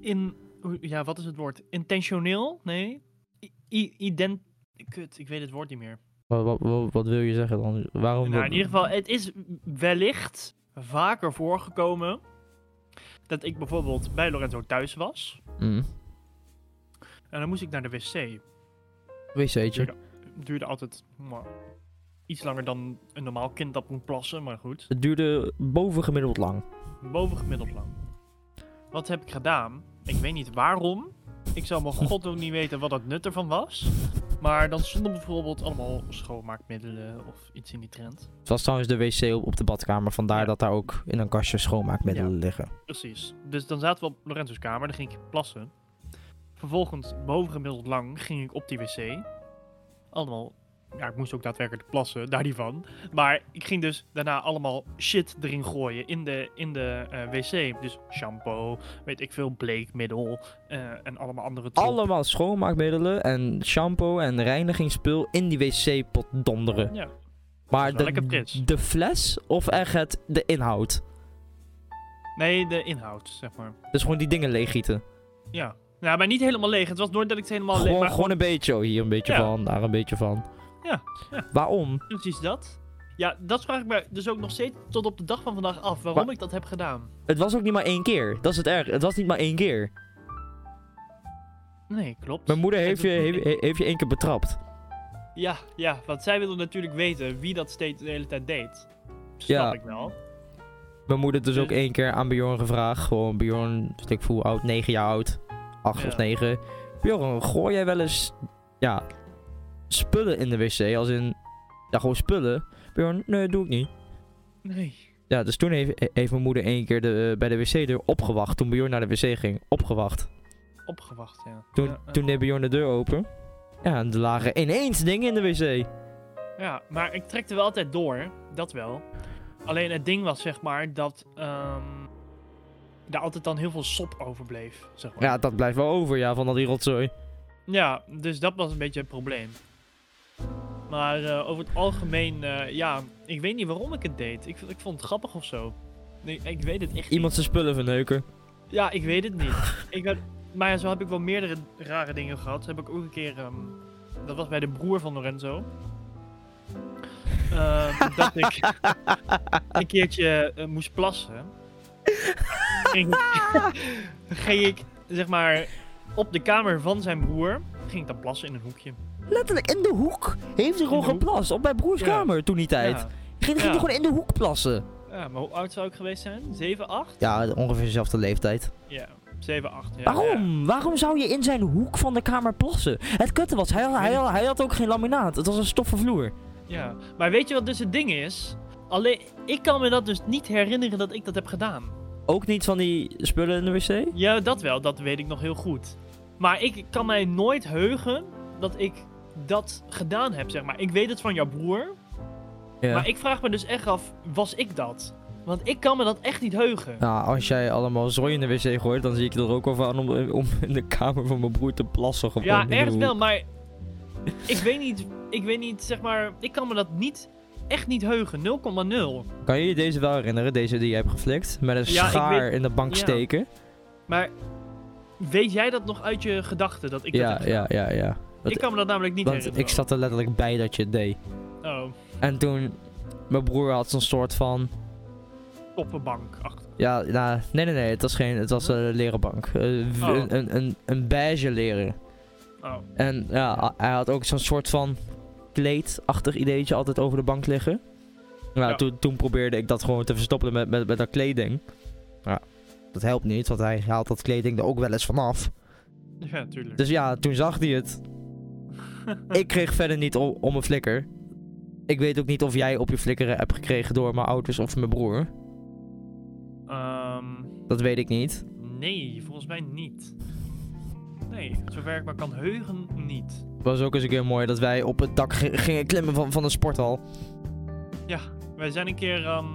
Speaker 2: In. hoe- Ja, wat is het woord? Intentioneel? Nee. I- i- ident. Kut, ik weet het woord niet meer.
Speaker 1: Wat, wat, wat, wat wil je zeggen dan? Waarom?
Speaker 2: Nou, in ieder geval, het is wellicht vaker voorgekomen. dat ik bijvoorbeeld bij Lorenzo thuis was.
Speaker 1: Mm.
Speaker 2: En dan moest ik naar de wc.
Speaker 1: Wc'tje.
Speaker 2: Duurde altijd. mwah, iets langer dan een normaal kind dat moet plassen, maar goed.
Speaker 1: Het duurde bovengemiddeld lang.
Speaker 2: bovengemiddeld lang. Wat heb ik gedaan? Ik weet niet waarom. Ik zou mijn god ook niet weten wat het nut ervan was. Maar dan stonden bijvoorbeeld allemaal schoonmaakmiddelen of iets in die trend.
Speaker 1: Het was trouwens de wc op, op de badkamer. Vandaar
Speaker 2: Ja.
Speaker 1: dat daar ook in een kastje schoonmaakmiddelen
Speaker 2: Ja.
Speaker 1: liggen.
Speaker 2: Precies. Dus dan zaten we op Lorenzo's kamer, dan ging ik plassen. Vervolgens, bovengemiddeld lang, ging ik op die wc. Allemaal, ja, ik moest ook daadwerkelijk plassen, daar niet van. Maar ik ging dus daarna allemaal shit erin gooien in de, in de eh, wc. Dus shampoo, weet ik veel, bleekmiddel eh, en allemaal andere troep.
Speaker 1: allemaal schoonmaakmiddelen en shampoo en reinigingspul in die wc-pot donderen.
Speaker 2: Ja,
Speaker 1: Maar
Speaker 2: wel
Speaker 1: de,
Speaker 2: lekker fris.
Speaker 1: de fles of echt het, de inhoud?
Speaker 2: nee, de inhoud, zeg maar.
Speaker 1: Dus gewoon die dingen leeggieten.
Speaker 2: Ja. Ja, maar niet helemaal leeg. Het was nooit dat ik het helemaal leeg...
Speaker 1: gewoon,
Speaker 2: Maar
Speaker 1: gewoon een beetje oh, hier een beetje
Speaker 2: Ja.
Speaker 1: van, daar een beetje van.
Speaker 2: Ja, ja.
Speaker 1: Waarom?
Speaker 2: precies dat. Ja, dat vraag ik me dus ook nog steeds tot op de dag van vandaag af waarom ik dat heb gedaan.
Speaker 1: Het was ook niet maar één keer. Dat is het erg. Het was niet maar één keer.
Speaker 2: Nee, klopt.
Speaker 1: Mijn moeder heeft je,
Speaker 2: Het is niet-
Speaker 1: heeft, he- heeft je één keer betrapt.
Speaker 2: Ja, ja, want zij wilde natuurlijk weten wie dat steeds de hele tijd deed. Snap
Speaker 1: Ja.
Speaker 2: ik wel.
Speaker 1: Mijn moeder dus ook
Speaker 2: Dus-
Speaker 1: één keer aan Bjorn gevraagd. Gewoon Bjorn, weet ik voel oud, negen jaar oud. Acht
Speaker 2: Ja.
Speaker 1: of negen. Bjorn, gooi jij wel eens, ja, spullen in de wc? Als in, ja, gewoon spullen. Bjorn, nee, doe ik niet.
Speaker 2: Nee.
Speaker 1: Ja, dus toen heeft, heeft mijn moeder één keer de, eh, bij de wc-deur opgewacht. Toen Bjorn naar de wc ging, opgewacht.
Speaker 2: Opgewacht, ja.
Speaker 1: Toen,
Speaker 2: Ja, eh. oh. ja.
Speaker 1: toen deed Bjorn de deur open. Ja, en er lagen ineens dingen in de wc.
Speaker 2: Ja, maar ik trekte wel altijd door, dat wel. Alleen het ding was, zeg maar, dat ehm, daar altijd dan heel veel sop overbleef, zeg maar.
Speaker 1: Ja, dat blijft wel over, ja, van al die rotzooi.
Speaker 2: Ja, dus dat was een beetje het probleem. Maar eh, over het algemeen, eh, ja, ik weet niet waarom ik het deed. Ik, ik vond het grappig of zo. Nee, ik weet het echt
Speaker 1: Iemand zijn spullen verneuken.
Speaker 2: niet. Ja, ik weet het niet. ik heb, maar ja, zo heb ik wel meerdere rare dingen gehad. Zo heb ik ook een keer, ehm, dat was bij de broer van Lorenzo.
Speaker 1: *laughs*
Speaker 2: Eh, toen dat ik een keertje eh, moest plassen.
Speaker 1: *laughs*
Speaker 2: Ging, ging ik, zeg maar, op de kamer van zijn broer, ging ik dan plassen in een hoekje.
Speaker 1: Letterlijk in de hoek heeft hij gewoon
Speaker 2: In de hoek.
Speaker 1: geplast. Op mijn broers
Speaker 2: Ja.
Speaker 1: kamer toen die tijd.
Speaker 2: Ja.
Speaker 1: Ging, ging
Speaker 2: Ja.
Speaker 1: hij gewoon in de hoek plassen.
Speaker 2: Ja, maar hoe oud zou ik geweest zijn? 7, 8?
Speaker 1: Ja, ongeveer dezelfde leeftijd.
Speaker 2: Ja, 7, 8. Ja, ja.
Speaker 1: Waarom? Waarom zou je in zijn hoek van de kamer plassen? Het kutte was, hij, hij, hij, had ook geen laminaat. Het was een stoffen vloer.
Speaker 2: Ja. Maar weet je wat dus het ding is? Alleen, ik kan me dat dus niet herinneren dat ik dat heb gedaan.
Speaker 1: Ook niet van die spullen in de wc?
Speaker 2: Ja, dat wel, dat weet ik nog heel goed. Maar ik kan mij nooit heugen dat ik dat gedaan heb, zeg maar. Ik weet het van jouw broer,
Speaker 1: Ja.
Speaker 2: maar ik vraag me dus echt af, was ik dat? Want ik kan me dat echt niet heugen.
Speaker 1: Nou, als jij allemaal zooi in de wc gooit, dan zie ik er ook wel van om, om in de kamer van mijn broer te plassen. Gewoon
Speaker 2: Ja,
Speaker 1: in de
Speaker 2: ergens
Speaker 1: hoek.
Speaker 2: wel, maar ik weet niet, ik weet niet, zeg maar, ik kan me dat niet, echt niet heugen, 0,0.
Speaker 1: Kan je je deze wel herinneren, deze die je hebt geflikt? Met een
Speaker 2: Ja, ik
Speaker 1: schaar
Speaker 2: weet-
Speaker 1: in de bank
Speaker 2: ja.
Speaker 1: steken?
Speaker 2: Maar weet jij dat nog uit je gedachten? Dat ik dat
Speaker 1: Ja,
Speaker 2: heb
Speaker 1: ja,
Speaker 2: gedaan?
Speaker 1: ja, ja.
Speaker 2: Ik kan me dat namelijk niet
Speaker 1: Want
Speaker 2: herinneren.
Speaker 1: ik zat er letterlijk bij dat je het deed.
Speaker 2: Oh,
Speaker 1: En toen, mijn broer had zo'n soort van...
Speaker 2: poppenbank achter.
Speaker 1: Ja, nou, nee, nee, nee, het was geen, het was een leren bank. Eh, w-
Speaker 2: Oh.
Speaker 1: een, een, een, een beige leren.
Speaker 2: Oh,
Speaker 1: En ja, hij had ook zo'n soort van kleedachtig ideetje altijd over de bank liggen. Nou,
Speaker 2: Ja.
Speaker 1: toen, toen probeerde ik dat gewoon te verstoppen met, met, met dat kleeding. Ja, dat helpt niet, want hij haalt dat kleding er ook wel eens vanaf.
Speaker 2: ja, tuurlijk.
Speaker 1: Dus ja, toen zag hij het. ik kreeg verder niet o- om een flikker. Ik weet ook niet of jij op je flikkeren hebt gekregen door mijn ouders of mijn broer.
Speaker 2: *laughs* Ehm,
Speaker 1: Dat weet ik niet.
Speaker 2: nee, volgens mij niet. Nee, zover ik me kan heugen, niet.
Speaker 1: Het was ook eens een keer mooi dat wij op het dak g- gingen klimmen van, van een sporthal.
Speaker 2: Wij zijn een keer... ehm,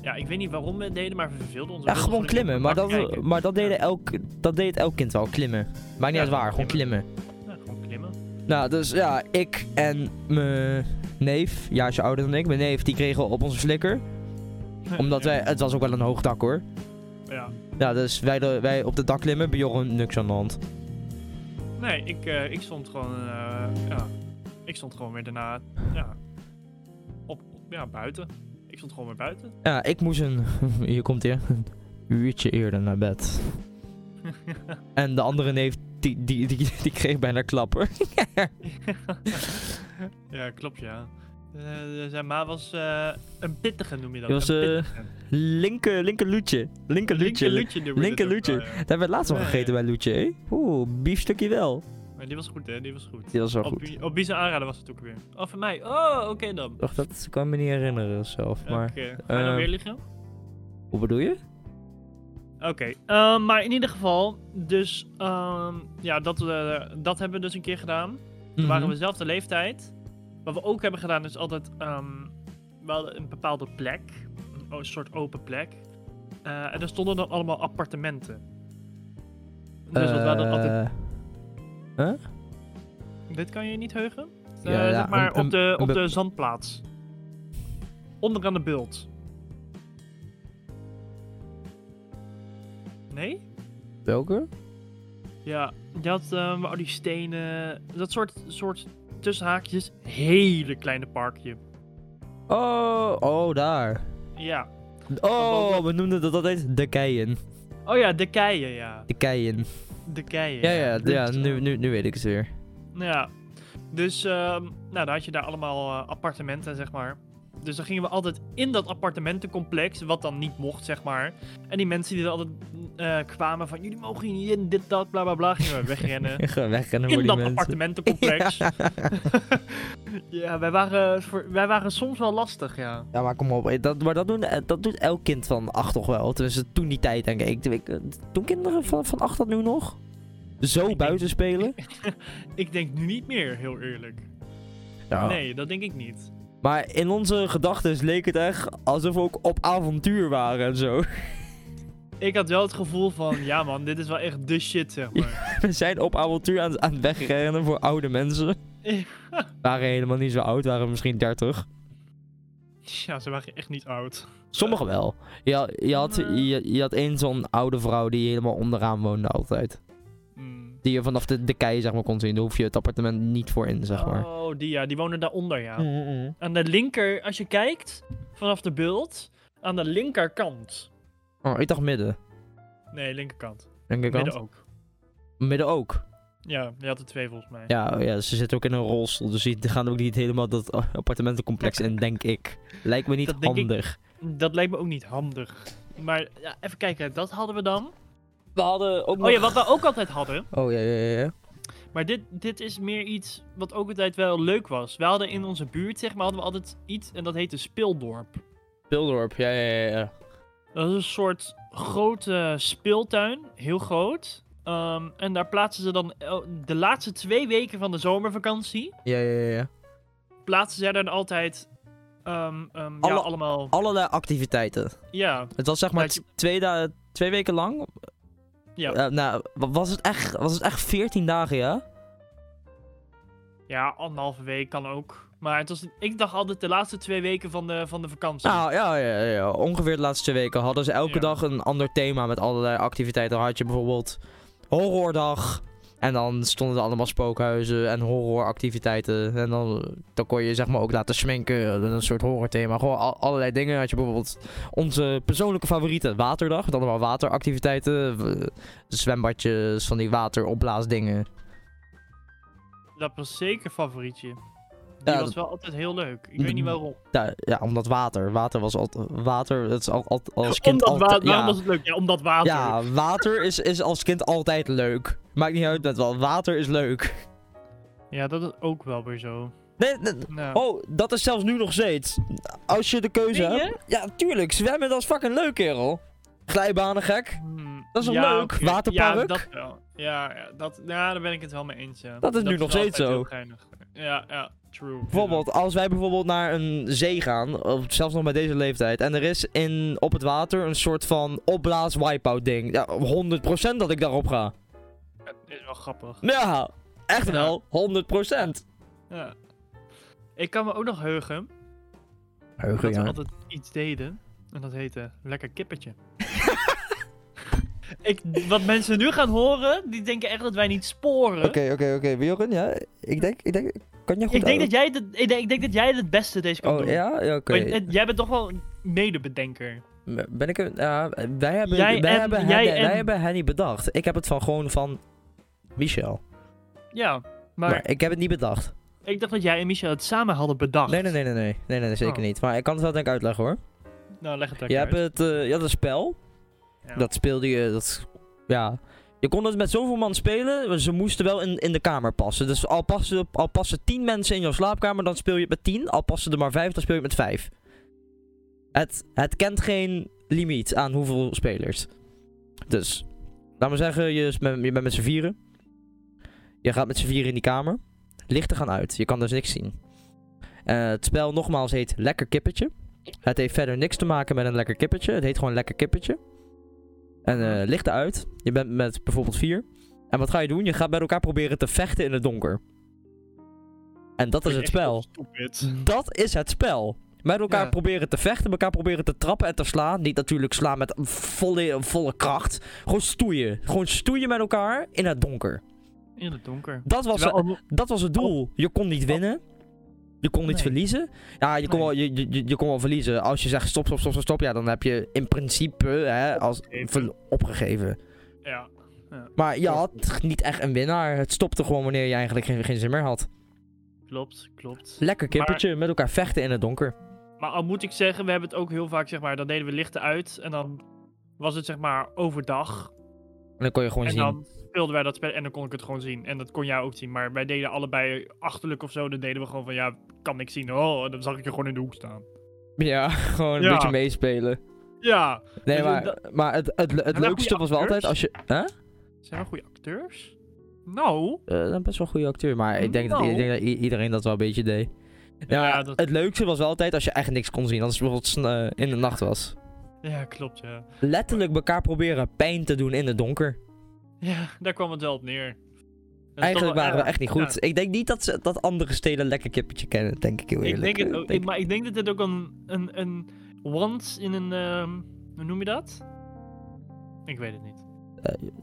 Speaker 2: ja, ik weet niet waarom we het deden, maar we verveelden ons.
Speaker 1: Ja,
Speaker 2: wel.
Speaker 1: gewoon
Speaker 2: Dus we
Speaker 1: klimmen.
Speaker 2: gingen
Speaker 1: Maar
Speaker 2: op de bank
Speaker 1: dat,
Speaker 2: kijken.
Speaker 1: maar dat,
Speaker 2: Ja.
Speaker 1: deden elk, dat deed elk kind wel, klimmen. Maakt niet
Speaker 2: Ja,
Speaker 1: uit waar,
Speaker 2: gewoon
Speaker 1: gewoon klimmen.
Speaker 2: Ja, gewoon klimmen.
Speaker 1: Nou, dus ja, ik en mijn neef, een jaartje ouder dan ik, mijn neef, die kregen op onze flikker. *laughs* Omdat wij, het was ook wel een hoog dak hoor.
Speaker 2: Ja.
Speaker 1: Ja, dus wij, de- wij op het dak klimmen, Bjorn, niks aan de hand.
Speaker 2: Nee, ik, eh, ik stond gewoon... eh, ja. Ik stond gewoon weer daarna... Ja. Op, ja, buiten. Ik stond gewoon weer buiten.
Speaker 1: Ja, ik moest een. *laughs* Hier komt hij. Een uurtje eerder naar
Speaker 2: *laughs*
Speaker 1: bed. en de andere neef, die, die, die, die kreeg bijna klappen.
Speaker 2: ja, klopt ja. Eh, zijn ma was eh, een pittige, noem je dat?
Speaker 1: Die was,
Speaker 2: een
Speaker 1: eh, *laughs*
Speaker 2: pittige.
Speaker 1: Linker, linker Loetje. Linker
Speaker 2: Linker
Speaker 1: Loetje.
Speaker 2: Luutje noemen we
Speaker 1: Linker
Speaker 2: dit ook wel, ja.
Speaker 1: Daar werd laatst nog
Speaker 2: Ja, ja.
Speaker 1: gegeten bij Loetje, hé. Oeh, biefstukje wel.
Speaker 2: Maar die was goed hè, die was goed.
Speaker 1: Die was wel
Speaker 2: Op,
Speaker 1: goed.
Speaker 2: wie- op wie zijn aanrader was het ook weer? Oh, van mij. Oh, oké dan.
Speaker 1: Och, dat kan me niet herinneren zelf,
Speaker 2: Oké,
Speaker 1: maar...
Speaker 2: ga je dan
Speaker 1: eh,
Speaker 2: weer liggen?
Speaker 1: Hoe bedoel je?
Speaker 2: Oké, ehm, maar in ieder geval, dus ehm, ja, dat, eh, dat hebben we dus een keer gedaan. Toen waren
Speaker 1: Mhm.
Speaker 2: we dezelfde leeftijd. Wat we ook hebben gedaan is altijd ehm we hadden een bepaalde plek, een o- soort open plek. Eh, en daar stonden dan allemaal appartementen. Dus dat we hadden altijd
Speaker 1: Eh,
Speaker 2: Dit kan je niet heugen?
Speaker 1: Ja,
Speaker 2: Eh,
Speaker 1: ja,
Speaker 2: zeg maar
Speaker 1: een-
Speaker 2: op, de,
Speaker 1: een
Speaker 2: op
Speaker 1: be-
Speaker 2: de zandplaats. Onderaan de bult. Nee?
Speaker 1: Welke?
Speaker 2: Ja, je had ehm, al die stenen. Dat soort, soort tussenhaakjes. Hele kleine parkje.
Speaker 1: Oh, oh, daar.
Speaker 2: Ja.
Speaker 1: Oh, we noemden dat altijd de keien.
Speaker 2: Oh ja, de keien, ja.
Speaker 1: De keien.
Speaker 2: De keien.
Speaker 1: Ja, ja,
Speaker 2: Dit,
Speaker 1: ja nu,
Speaker 2: eh,
Speaker 1: nu, nu weet ik het weer.
Speaker 2: Ja. Dus ehm, nou, dan had je daar allemaal eh, appartementen, zeg maar. Dus dan gingen we altijd in dat appartementencomplex, wat dan niet mocht, zeg maar. En die mensen die er altijd eh, kwamen van, jullie mogen hier niet in, dit, dat, bla, bla, bla, gingen we
Speaker 1: *laughs*
Speaker 2: wegrennen.
Speaker 1: Gewoon wegrennen voor
Speaker 2: eh, in
Speaker 1: die
Speaker 2: dat
Speaker 1: mensen. *laughs*
Speaker 2: appartementencomplex. *laughs* Ja, wij, waren, voor- wij waren soms wel lastig, ja.
Speaker 1: Ja, maar kom op. eh, Dat, maar dat, doen, eh, dat doet elk kind van acht toch wel. Tenminste, toen die tijd denk ik. Toen ik- eh, Doen kinderen van, van acht dat nu nog? Zo
Speaker 2: denk-
Speaker 1: buiten spelen?
Speaker 2: Ik denk nu niet meer, heel eerlijk.
Speaker 1: Ja.
Speaker 2: Nee, dat denk ik niet.
Speaker 1: Maar in onze gedachten leek het echt alsof we ook op avontuur waren en zo. *laughs*
Speaker 2: Ik had wel het gevoel van, ja man, dit is wel echt de shit, zeg maar.
Speaker 1: We zijn op avontuur aan, aan het wegrennen voor oude
Speaker 2: *laughs*
Speaker 1: mensen. Waren helemaal niet zo oud, waren misschien 30.
Speaker 2: Ja, ze waren echt niet oud.
Speaker 1: Sommigen wel. Je, je, had, je, je had één zo'n oude vrouw die helemaal onderaan woonde altijd.
Speaker 2: Mm.
Speaker 1: Die je vanaf de, de kei zeg maar kon zien. Daar hoef je het appartement niet voor in, zeg maar.
Speaker 2: Oh, die ja, die wonen daaronder, ja.
Speaker 1: Mhm.
Speaker 2: Aan de linker, als je kijkt, vanaf de beeld, aan de linkerkant.
Speaker 1: Oh, ik dacht midden.
Speaker 2: Nee, linkerkant.
Speaker 1: Denk ik
Speaker 2: Midden
Speaker 1: midden,
Speaker 2: ook.
Speaker 1: midden ook.
Speaker 2: Ja, je had er twee volgens mij.
Speaker 1: Ja, oh ja, ze zit ook in een rolstoel. Dus die gaan ook niet helemaal dat appartementencomplex
Speaker 2: *laughs*
Speaker 1: in, denk ik. Lijkt me niet
Speaker 2: Dat denk ik.
Speaker 1: handig.
Speaker 2: Dat lijkt me ook niet handig. Maar ja, even kijken, dat hadden we dan.
Speaker 1: We hadden ook
Speaker 2: Oh ja, wat we ook altijd hadden.
Speaker 1: Oh ja, ja, ja. ja.
Speaker 2: Maar dit, dit is meer iets wat ook altijd wel leuk was. We hadden in onze buurt, zeg maar, hadden we altijd iets en dat heette Speeldorp.
Speaker 1: Bildorp, ja, ja, ja. ja.
Speaker 2: Dat is een soort grote speeltuin, heel groot. Ehm, en daar plaatsen ze dan el- de laatste twee weken van de zomervakantie.
Speaker 1: Ja, ja, ja, ja.
Speaker 2: Plaatsen zij dan altijd ehm, ehm, ja,
Speaker 1: Alle-
Speaker 2: allemaal.
Speaker 1: Allerlei activiteiten.
Speaker 2: Ja,
Speaker 1: Het was zeg maar
Speaker 2: Dat je-
Speaker 1: t- twee, da- twee weken lang.
Speaker 2: Ja.
Speaker 1: Eh, nou, wa- was het, echt, was het echt 14 dagen, ja?
Speaker 2: ja, anderhalve week kan ook. Maar het was, ik dacht altijd de laatste twee weken van de, van de vakantie.
Speaker 1: Nou ja, ja, ja, ja. ongeveer de laatste twee weken hadden ze elke
Speaker 2: Ja.
Speaker 1: dag een ander thema met allerlei activiteiten. Dan had je bijvoorbeeld horrordag. En dan stonden er allemaal spookhuizen en horroractiviteiten. En dan, dan kon je zeg maar ook laten sminken. Een soort horrorthema. Gewoon al- allerlei dingen. Had je bijvoorbeeld onze persoonlijke favorieten. Waterdag. Met allemaal wateractiviteiten. w- Zwembadjes, van die wateropblaasdingen.
Speaker 2: Dat was zeker favorietje. Die
Speaker 1: Ja,
Speaker 2: was
Speaker 1: dat- Mm.
Speaker 2: wel altijd heel leuk. Ik weet niet waarom.
Speaker 1: Ja, ja, omdat water. Water was altijd. Water, het is al, al- als kind
Speaker 2: omdat
Speaker 1: altijd.
Speaker 2: water. Waarom
Speaker 1: Ja,
Speaker 2: was het leuk? Ja, omdat water.
Speaker 1: ja, water is, is als kind altijd leuk. Maakt niet uit met wel. Water is leuk.
Speaker 2: Ja, dat is ook wel weer zo.
Speaker 1: Nee, nee,
Speaker 2: Nou.
Speaker 1: oh, dat is zelfs nu nog steeds. Als je de keuze
Speaker 2: Meen je?
Speaker 1: hebt. Ja, tuurlijk. Zwemmen, dat is fucking leuk, kerel. Glijbanen, gek.
Speaker 2: Hmm,
Speaker 1: Dat is toch
Speaker 2: ja,
Speaker 1: leuk?
Speaker 2: oké.
Speaker 1: Waterpark?
Speaker 2: Ja, dat wel. Ja, ja, dat, ja, daar ben ik het wel mee eens, ja.
Speaker 1: Dat is nu nog
Speaker 2: wel
Speaker 1: steeds zo.
Speaker 2: altijd heel geinig. Ja, ja, true.
Speaker 1: Bijvoorbeeld, als wij bijvoorbeeld naar een zee gaan, of zelfs nog bij deze leeftijd, en er is in, op het water een soort van opblaas wipeout ding. Ja, 100% dat ik daarop ga.
Speaker 2: Ja, dat is wel grappig.
Speaker 1: Ja, echt
Speaker 2: Ja.
Speaker 1: wel. 100%.
Speaker 2: Ja. Ik kan me ook nog heugen dat we altijd iets deden. En dat heette lekker
Speaker 1: *laughs*
Speaker 2: kippertje. ik, wat mensen nu gaan horen, die denken echt dat wij niet sporen.
Speaker 1: oké, oké. Bjorn, ja, ik denk, ik denk, kan je
Speaker 2: Ik denk, dat jij het, ik, denk, ik denk dat jij het het beste deze kan
Speaker 1: Oh,
Speaker 2: doen.
Speaker 1: ja? Ja, oké.
Speaker 2: Want, eh, jij bent toch wel een medebedenker.
Speaker 1: Ben ik een... ja, wij hebben,
Speaker 2: Jij
Speaker 1: wij,
Speaker 2: en-
Speaker 1: hebben hen,
Speaker 2: jij
Speaker 1: wij
Speaker 2: en-
Speaker 1: hebben hen niet bedacht. Ik heb het van gewoon van Michel.
Speaker 2: Ja, maar
Speaker 1: Maar, ik heb het niet bedacht.
Speaker 2: ik dacht dat jij en Michel het samen hadden bedacht.
Speaker 1: Nee, nee, nee, nee, nee. Nee, nee, zeker
Speaker 2: Oh.
Speaker 1: niet. Maar ik kan het wel denk ik uitleggen, hoor.
Speaker 2: Nou, leg het
Speaker 1: Je,
Speaker 2: lekker
Speaker 1: hebt
Speaker 2: uit.
Speaker 1: het, eh, je had een spel.
Speaker 2: Ja.
Speaker 1: Dat speelde je... Dat, ja... Je kon het met zoveel man spelen, maar ze moesten wel in, in de kamer passen. Dus al passen, al passen tien mensen in jouw slaapkamer, dan speel je het met tien. Al passen er maar vijf, dan speel je het met vijf. Het, het kent geen limiet aan hoeveel spelers. Dus, laat maar zeggen, je, is met- je bent met z'n vieren. Je gaat met z'n vieren in die kamer. Lichten gaan uit, je kan dus niks zien. Eh, het spel nogmaals heet Lekker Kippetje. Het heeft verder niks te maken met een lekker kippetje. Het heet gewoon Lekker Kippetje. En eh, lichten uit. Je bent met bijvoorbeeld vier. En wat ga je doen? Je gaat met elkaar proberen te vechten in het donker. En dat is het
Speaker 2: Echt
Speaker 1: spel. *laughs*
Speaker 2: heel stupid.
Speaker 1: Dat is het spel. Met elkaar
Speaker 2: Ja.
Speaker 1: proberen te vechten, elkaar proberen te trappen en te slaan. Niet natuurlijk slaan met volle, volle kracht. Gewoon stoeien. Gewoon stoeien met elkaar in het donker.
Speaker 2: In het donker.
Speaker 1: Dat was,
Speaker 2: Terwijl-
Speaker 1: dat was het doel. Je kon niet winnen. Je kon niet
Speaker 2: Oh. Nee.
Speaker 1: verliezen. Ja, je kon,
Speaker 2: Nee.
Speaker 1: wel, je, je, je- je kon wel verliezen. Als je zegt stop, stop, stop, stop, stop, ja, dan heb je in principe hè, als,
Speaker 2: Opgegeven.
Speaker 1: ver- opgegeven.
Speaker 2: Ja.
Speaker 1: Maar je had niet echt een winnaar. Het stopte gewoon wanneer je eigenlijk geen, geen zin meer had.
Speaker 2: Klopt, klopt.
Speaker 1: Lekker kippertje, met elkaar vechten in het donker.
Speaker 2: Maar al moet ik zeggen, we hebben het ook heel vaak, zeg maar, dan deden we lichten uit en dan was het, zeg maar, overdag.
Speaker 1: En dan kon je gewoon
Speaker 2: en
Speaker 1: zien.
Speaker 2: dan speelden wij dat spel en dan kon ik het gewoon zien. En dat kon jij ook zien, maar wij deden allebei achterlijk of zo, dan deden we gewoon van, ja, kan ik zien. Oh, en dan zag ik je gewoon in de hoek staan.
Speaker 1: Ja, *laughs* gewoon een
Speaker 2: Ja.
Speaker 1: beetje meespelen.
Speaker 2: Ja.
Speaker 1: Nee,
Speaker 2: Dus
Speaker 1: maar,
Speaker 2: dat-
Speaker 1: maar het, het, het
Speaker 2: dat
Speaker 1: leukste
Speaker 2: goede
Speaker 1: was wel altijd
Speaker 2: acteurs?
Speaker 1: als je. Hè?
Speaker 2: Zijn we goede acteurs? Nou.
Speaker 1: Eh, dan best wel een goede acteur, maar ik denk, dat,
Speaker 2: Nou.
Speaker 1: ik denk dat i- iedereen dat wel een beetje deed. Ja,
Speaker 2: Ja, dat-
Speaker 1: het leukste was wel altijd als je echt niks kon zien, als het bijvoorbeeld sn- eh, in de nacht was.
Speaker 2: Ja, klopt, ja.
Speaker 1: Letterlijk elkaar proberen pijn te doen in het donker.
Speaker 2: Ja, daar kwam het wel op neer. Dat is toch
Speaker 1: Eigenlijk
Speaker 2: wel
Speaker 1: waren we
Speaker 2: erg.
Speaker 1: echt niet goed. Ik denk niet dat, ze, dat andere steden lekker kippertje kennen, denk ik heel
Speaker 2: Ik
Speaker 1: eerlijk.
Speaker 2: denk het
Speaker 1: Eh,
Speaker 2: ook, ik- maar ik denk dat dit ook een, een, een once in een, ehm, hoe noem je dat? Ik weet het niet.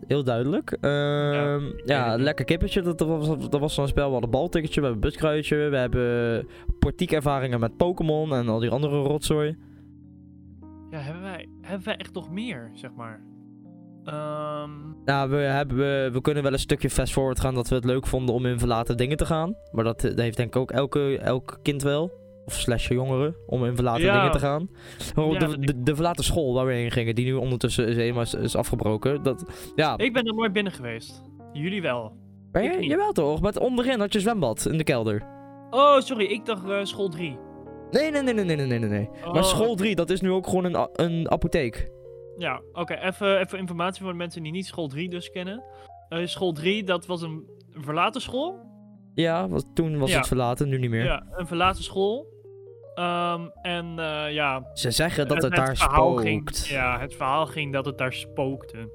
Speaker 1: Heel duidelijk. Ehm, ja,
Speaker 2: ik weet het niet.
Speaker 1: lekker kippertje, dat, dat was, dat was zo'n spel. We hadden balticketje, we hebben buskruidje, we hebben portiekervaringen met Pokémon en al die andere rotzooi.
Speaker 2: Ja, hebben wij, hebben wij echt nog meer, zeg maar? Ehm,
Speaker 1: Nou, we, hebben, we, we kunnen wel een stukje fast forward gaan dat we het leuk vonden om in verlaten dingen te gaan. Maar dat, eh, dat heeft denk ik ook elke, elk kind wel. Of slash jongeren, om in verlaten
Speaker 2: Ja.
Speaker 1: dingen te gaan. Maar
Speaker 2: Ja,
Speaker 1: de,
Speaker 2: dat-
Speaker 1: de, de verlaten school waar we heen gingen, die nu ondertussen is helemaal is, is afgebroken. Dat, ja,
Speaker 2: ik ben er nooit binnen geweest. Jullie wel.
Speaker 1: maar
Speaker 2: ik
Speaker 1: je-
Speaker 2: niet.
Speaker 1: jawel toch, maar onderin had je zwembad in de kelder.
Speaker 2: Oh, sorry, ik dacht eh, school Oh. 3.
Speaker 1: Nee, nee, nee, nee, nee, nee, nee, nee. Maar school 3, dat is nu ook gewoon een, a- een apotheek.
Speaker 2: Ja, oké, even, even informatie voor de mensen die niet school 3 dus kennen. Eh, school 3, dat was een verlaten school.
Speaker 1: Ja, was, toen was
Speaker 2: Ja.
Speaker 1: het verlaten, nu niet meer.
Speaker 2: Ja, een verlaten school. Ehm, en eh, ja,
Speaker 1: Ze zeggen dat het, daar
Speaker 2: verhaal
Speaker 1: spookt.
Speaker 2: ging, ja, het verhaal ging dat het daar spookte.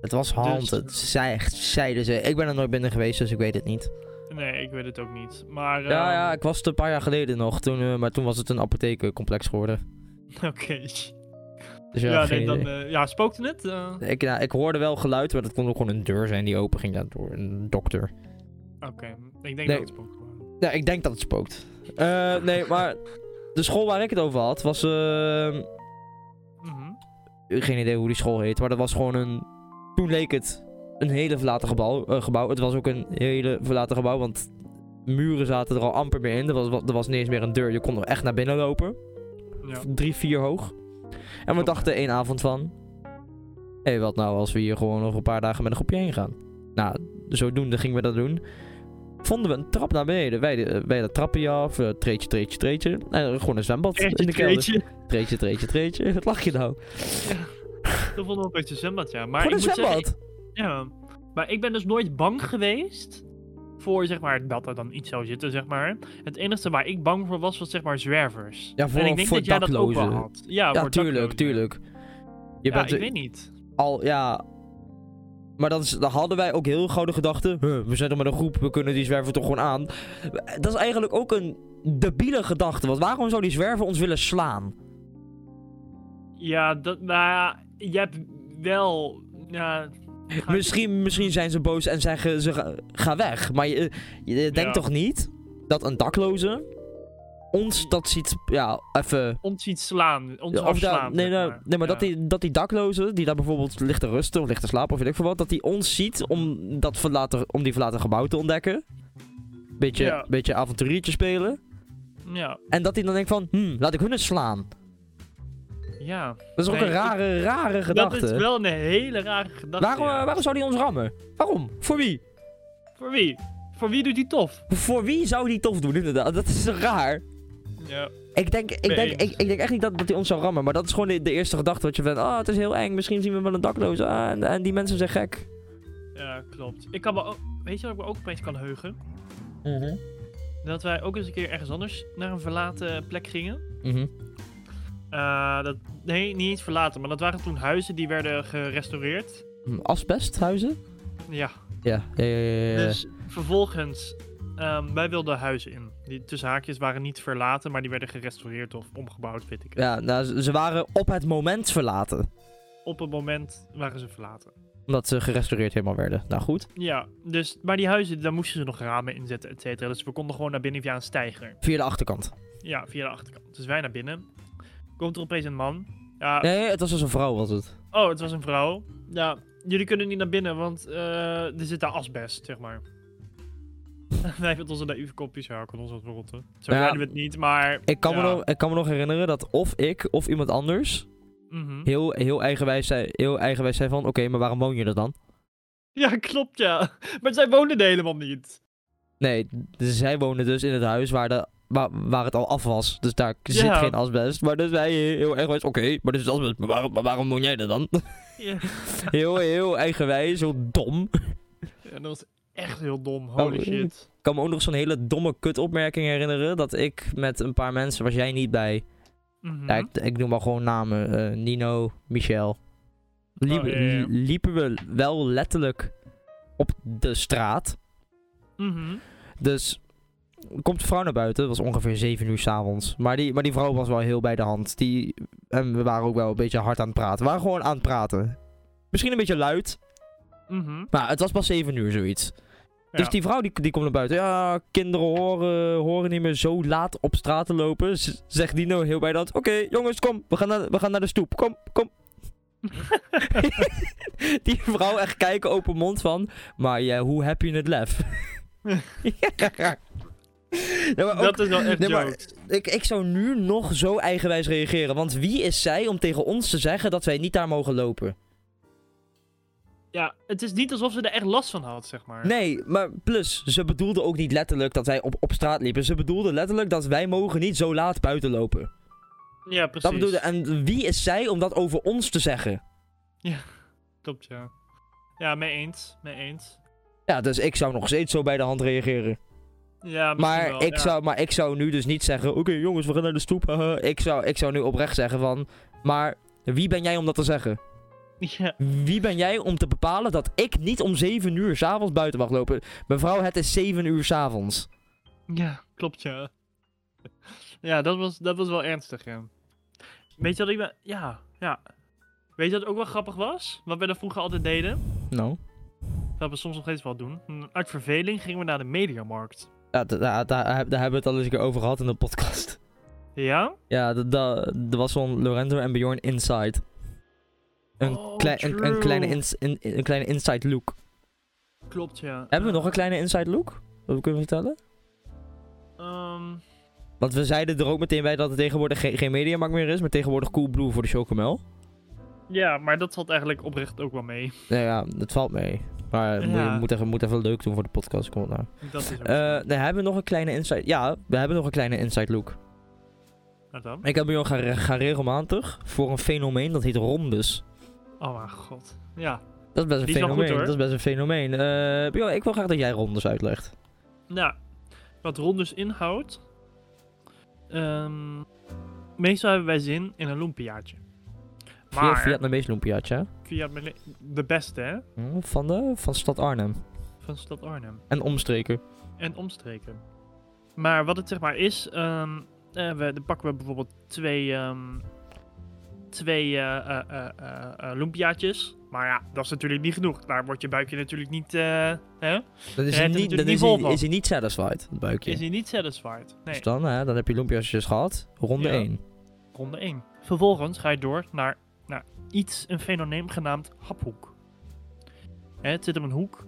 Speaker 1: Het was hand,
Speaker 2: Dus-
Speaker 1: het zei, zeiden ze. Ik ben er nooit binnen geweest, dus ik weet het niet.
Speaker 2: Nee, ik weet het ook niet. Maar
Speaker 1: Ja,
Speaker 2: ehm, *laughs*
Speaker 1: ja, ik was het een paar jaar geleden nog, toen, eh, maar toen was het een apotheekcomplex geworden.
Speaker 2: oké.
Speaker 1: Dus ja,
Speaker 2: Ja,
Speaker 1: geen
Speaker 2: nee, dan,
Speaker 1: idee.
Speaker 2: eh, ja, spookte het? Eh,
Speaker 1: ik, ja, ik hoorde wel geluid, maar dat kon ook gewoon een deur zijn die open ging ja, door een dokter.
Speaker 2: Oké, ik denk
Speaker 1: Nee.
Speaker 2: dat het spookte. was.
Speaker 1: Ja, ik denk dat het spookt. Eh, nee, maar de school waar ik het over had, was... eh,
Speaker 2: Mhm.
Speaker 1: geen idee hoe die school heet, maar dat was gewoon een... Toen leek het een hele verlaten gebouw. eh, gebouw. Het was ook een hele verlaten gebouw, want muren zaten er al amper meer in. Er was, er was niet eens meer een deur, je kon er echt naar binnen lopen.
Speaker 2: Ja.
Speaker 1: drie, vier hoog. En we
Speaker 2: Klopt,
Speaker 1: dachten één avond van... Hé, hey, wat nou als we hier gewoon nog een paar dagen met een groepje heen gaan? Nou, zodoende gingen we dat doen. Vonden we een trap naar beneden. Wij, de- wij dat trapje af, eh, treetje, treetje, treetje. En er gewoon een zwembad
Speaker 2: Treetje,
Speaker 1: in de kelder.
Speaker 2: treetje. *laughs*
Speaker 1: Treetje, treetje, treetje. *laughs* Wat lach je nou?
Speaker 2: Toen vonden we opeens een zwembad, ja. Maar
Speaker 1: gewoon
Speaker 2: ik
Speaker 1: een
Speaker 2: moet zeggen,
Speaker 1: zwembad.
Speaker 2: Ja, maar ik ben dus nooit bang geweest voor zeg maar dat er dan iets zou zitten, zeg maar. Het enige waar ik bang voor was, was zeg maar zwervers.
Speaker 1: Ja, voor-
Speaker 2: en ik denk
Speaker 1: voor
Speaker 2: dat jij dat ook wel
Speaker 1: daklozen.
Speaker 2: had. Ja,
Speaker 1: ja,
Speaker 2: voor
Speaker 1: tuurlijk,
Speaker 2: daklozen.
Speaker 1: tuurlijk. Je
Speaker 2: ja,
Speaker 1: bent
Speaker 2: ik weet niet.
Speaker 1: al, ja... Maar dan, is- dan hadden wij ook heel gauw de gedachte... "Huh, we zijn er met een groep, we kunnen die zwerver toch gewoon aan. Dat is eigenlijk ook een debiele gedachte. Want waarom zou die zwerver ons willen slaan?
Speaker 2: Ja, dat, nou ja, je hebt wel... Ja, ga-
Speaker 1: Misschien, misschien zijn ze boos en zeggen ze ga, ga weg. Maar je, je denkt
Speaker 2: Ja.
Speaker 1: toch niet dat een dakloze ons dat ziet, ja, even...
Speaker 2: Ons iets slaan,
Speaker 1: Of
Speaker 2: ons
Speaker 1: daar-
Speaker 2: afslaan.
Speaker 1: nee,
Speaker 2: zeg
Speaker 1: nee,
Speaker 2: maar.
Speaker 1: nee, maar dat,
Speaker 2: Ja.
Speaker 1: die, dat die dakloze, die daar bijvoorbeeld ligt te rusten of ligt te slapen of weet ik veel wat, dat die ons ziet om, dat verlaten, om die verlaten gebouw te ontdekken. Beetje,
Speaker 2: Ja.
Speaker 1: beetje avonturiertje spelen.
Speaker 2: Ja,
Speaker 1: En dat hij dan denkt van, hm, laat ik hun eens slaan.
Speaker 2: ja.
Speaker 1: Dat is ook
Speaker 2: Nee,
Speaker 1: een rare, rare gedachte.
Speaker 2: Dat is wel een hele rare gedachte.
Speaker 1: waarom,
Speaker 2: ja.
Speaker 1: eh, waarom zou die ons rammen? Waarom? Voor wie?
Speaker 2: Voor wie? Voor wie doet die tof?
Speaker 1: Voor wie zou die tof doen, inderdaad? Dat is toch raar.
Speaker 2: Ja.
Speaker 1: Ik denk, ik,
Speaker 2: Mee
Speaker 1: denk,
Speaker 2: eens.
Speaker 1: ik, ik denk echt niet dat, dat hij ons zou rammen, maar dat is gewoon de, de eerste gedachte. Wat je van, ah, het is heel eng, misschien zien we wel een dakloze. Ah, en, en die mensen zijn gek.
Speaker 2: Ja, klopt. Ik kan me ook, weet je wat ik me ook opeens kan heugen? Dat wij ook eens een keer ergens anders naar een verlaten plek gingen.
Speaker 1: Mhm.
Speaker 2: Eh, dat, nee, niet eens verlaten, maar dat waren toen huizen die werden gerestaureerd.
Speaker 1: Hm, Asbesthuizen?
Speaker 2: Ja,
Speaker 1: Ja. Ja, ja, ja, ja, ja.
Speaker 2: dus vervolgens, ehm, wij wilden huizen in. Die tussen haakjes waren niet verlaten, maar die werden gerestaureerd of omgebouwd, weet ik. het.
Speaker 1: Ja, nou, ze- ze waren op het moment verlaten.
Speaker 2: Op het moment waren ze verlaten.
Speaker 1: Omdat ze gerestaureerd helemaal werden. Nou goed.
Speaker 2: Ja, dus, maar die huizen, daar moesten ze nog ramen inzetten, et cetera. Dus we konden gewoon naar binnen via een steiger.
Speaker 1: Via de achterkant.
Speaker 2: Ja, via de achterkant. Dus wij naar binnen. Komt er opeens een man. Ja,
Speaker 1: Nee, het was als een vrouw, was het.
Speaker 2: oh, het was een vrouw. Ja, jullie kunnen niet naar binnen, want eh, er zit daar asbest, zeg maar. *laughs* wij met onze naïeve kopjes, ja, kan ons wat verrotten. Zo
Speaker 1: Ja.
Speaker 2: zijn we het niet, maar...
Speaker 1: Ik kan, me
Speaker 2: Ja.
Speaker 1: nog, ik kan me nog herinneren dat of ik of iemand anders
Speaker 2: mhm.
Speaker 1: heel, heel, eigenwijs, zei, heel eigenwijs zei van... Oké, maar waarom woon je er dan?
Speaker 2: Ja, klopt, ja. Maar zij woonden er helemaal niet.
Speaker 1: Nee, dus zij woonde dus in het huis waar, de, waar, waar het al af was. Dus daar zit
Speaker 2: Ja.
Speaker 1: geen asbest. Maar dus wij heel eigenwijs... Oké, maar er zit asbest. Maar waarom, maar waarom woon jij er dan? *laughs*
Speaker 2: Ja.
Speaker 1: heel, heel eigenwijs, heel dom.
Speaker 2: Ja, dat was echt heel dom. Holy
Speaker 1: Oh,
Speaker 2: shit.
Speaker 1: Ik kan me ook nog zo'n hele domme kutopmerking herinneren. Dat ik met een paar mensen, was jij niet bij.
Speaker 2: Mhm.
Speaker 1: Ja, ik, ik noem maar gewoon namen. eh, Nino, Michel. Liepen,
Speaker 2: Oh, ja, ja, ja.
Speaker 1: liepen we wel letterlijk op de straat.
Speaker 2: Mhm.
Speaker 1: Dus komt de vrouw naar buiten. Het was ongeveer 7 uur s'avonds. Maar die, maar die vrouw was wel heel bij de hand. Die, en we waren ook wel een beetje hard aan het praten. We waren gewoon aan het praten. Misschien een beetje luid.
Speaker 2: Mhm.
Speaker 1: Maar het was pas 7 uur zoiets. Dus
Speaker 2: Ja. *laughs*
Speaker 1: die vrouw die, die komt naar buiten. Ja, kinderen horen, horen niet meer zo laat op straat te lopen. Z- zegt Dino heel bij dat. Oké, jongens, kom. We gaan, naar, we gaan naar de stoep. Kom, kom. *laughs* die vrouw echt kijken open mond van. Maar ja, hoe heb je het
Speaker 2: *laughs*
Speaker 1: lef? Ja, maar ook-
Speaker 2: dat is wel echt
Speaker 1: nee, maar-
Speaker 2: jokes.
Speaker 1: ik, ik zou nu nog zo eigenwijs reageren. Want wie is zij om tegen ons te zeggen dat wij niet daar mogen lopen?
Speaker 2: Ja, het is niet alsof ze er echt last van had, zeg maar.
Speaker 1: Nee, maar plus, ze bedoelde ook niet letterlijk dat wij op, op straat liepen. Ze bedoelde letterlijk dat wij mogen niet zo laat buiten lopen.
Speaker 2: Ja, precies.
Speaker 1: Dat bedoelde, en wie is zij om dat over ons te zeggen?
Speaker 2: Klopt, ja. Ja, mee eens. Mee eens.
Speaker 1: Ja, dus ik zou nog steeds zo bij de hand reageren.
Speaker 2: Ja, misschien
Speaker 1: Maar,
Speaker 2: wel,
Speaker 1: ik,
Speaker 2: ja.
Speaker 1: zou, maar ik zou nu dus niet zeggen, oké jongens, we gaan naar de stoep. haha." Ik, zou, ik zou nu oprecht zeggen van, maar wie ben jij om dat te zeggen?
Speaker 2: *laughs* Ja,
Speaker 1: Wie ben jij om te bepalen dat ik niet om 7 uur s'avonds buiten mag lopen? Mevrouw, het is 7 uur s'avonds.
Speaker 2: *laughs* ja, klopt, ja. Ja, dat was, dat was wel ernstig, ja. Weet je wat ik... wel- Ja, ja. Weet je wat ook wel grappig was? Wat wij dat vroeger altijd deden?
Speaker 1: Nou,
Speaker 2: Dat we soms nog steeds wel doen. Uit verveling gingen we naar de mediamarkt.
Speaker 1: ja, da- da- da- daar hebben we het al eens een keer over gehad in de podcast. *laughs*
Speaker 2: Ja?
Speaker 1: Ja, da- da- er was van Lorenzo en Bjorn Inside. Een,
Speaker 2: Oh,
Speaker 1: klei- een, een
Speaker 2: true.
Speaker 1: kleine ins- een- een kleine inside look.
Speaker 2: Klopt, ja.
Speaker 1: Hebben we nog een kleine inside look? Dat kunnen we vertellen?
Speaker 2: Ehm,
Speaker 1: Want we zeiden er ook meteen bij dat er tegenwoordig geen, geen mediamarkt meer is, maar tegenwoordig Coolblue voor de chocomel.
Speaker 2: ja, maar dat zat eigenlijk oprecht ook wel mee.
Speaker 1: Nou ja, dat valt mee. Maar
Speaker 2: Ja.
Speaker 1: moet, je- moet, even, moet even leuk doen voor de podcast, kom op nou.
Speaker 2: Dat is ook
Speaker 1: Eh, nee, hebben we nog een kleine inside... Ja, we hebben nog een kleine inside look.
Speaker 2: Wat Nou dan?
Speaker 1: Ik heb Bjorn ga, ga regelmatig voor een fenomeen dat heet rondes.
Speaker 2: Oh mijn god. Ja.
Speaker 1: Dat is best een
Speaker 2: Die is wel goed,
Speaker 1: fenomeen,
Speaker 2: hoor.
Speaker 1: dat is best een fenomeen. Eh Bjorn, ik wil graag dat jij rondes uitlegt.
Speaker 2: Nou, wat rondes inhoudt. Ehm, meestal hebben wij zin in een lumpiaatje.
Speaker 1: Via
Speaker 2: Maar-
Speaker 1: Vietnamese lumpiaatje, hè?
Speaker 2: Via mele- de beste, hè?
Speaker 1: Hm, Van, de, van stad Arnhem.
Speaker 2: Van stad Arnhem.
Speaker 1: En omstreken.
Speaker 2: En omstreken. Maar wat het zeg maar is. ehm, eh, we, dan pakken we bijvoorbeeld twee. ehm, twee eh, eh, eh, eh, eh, lumpiaatjes. Maar ja, dat is natuurlijk niet genoeg. Daar wordt je buikje natuurlijk niet. eh, hè?
Speaker 1: Dat is
Speaker 2: Hij
Speaker 1: hij
Speaker 2: heeft er
Speaker 1: niet, dan
Speaker 2: natuurlijk
Speaker 1: is
Speaker 2: niet vol
Speaker 1: hij,
Speaker 2: van.
Speaker 1: is hij niet satisfied, het buikje.
Speaker 2: Is hij niet satisfied? Nee.
Speaker 1: Dus dan, hè, dan heb je lumpiasjes gehad. Ronde
Speaker 2: Ja.
Speaker 1: 1.
Speaker 2: ronde 1. Vervolgens ga je door naar, naar iets, een fenomeen genaamd haphoek. Hè, het zit op een hoek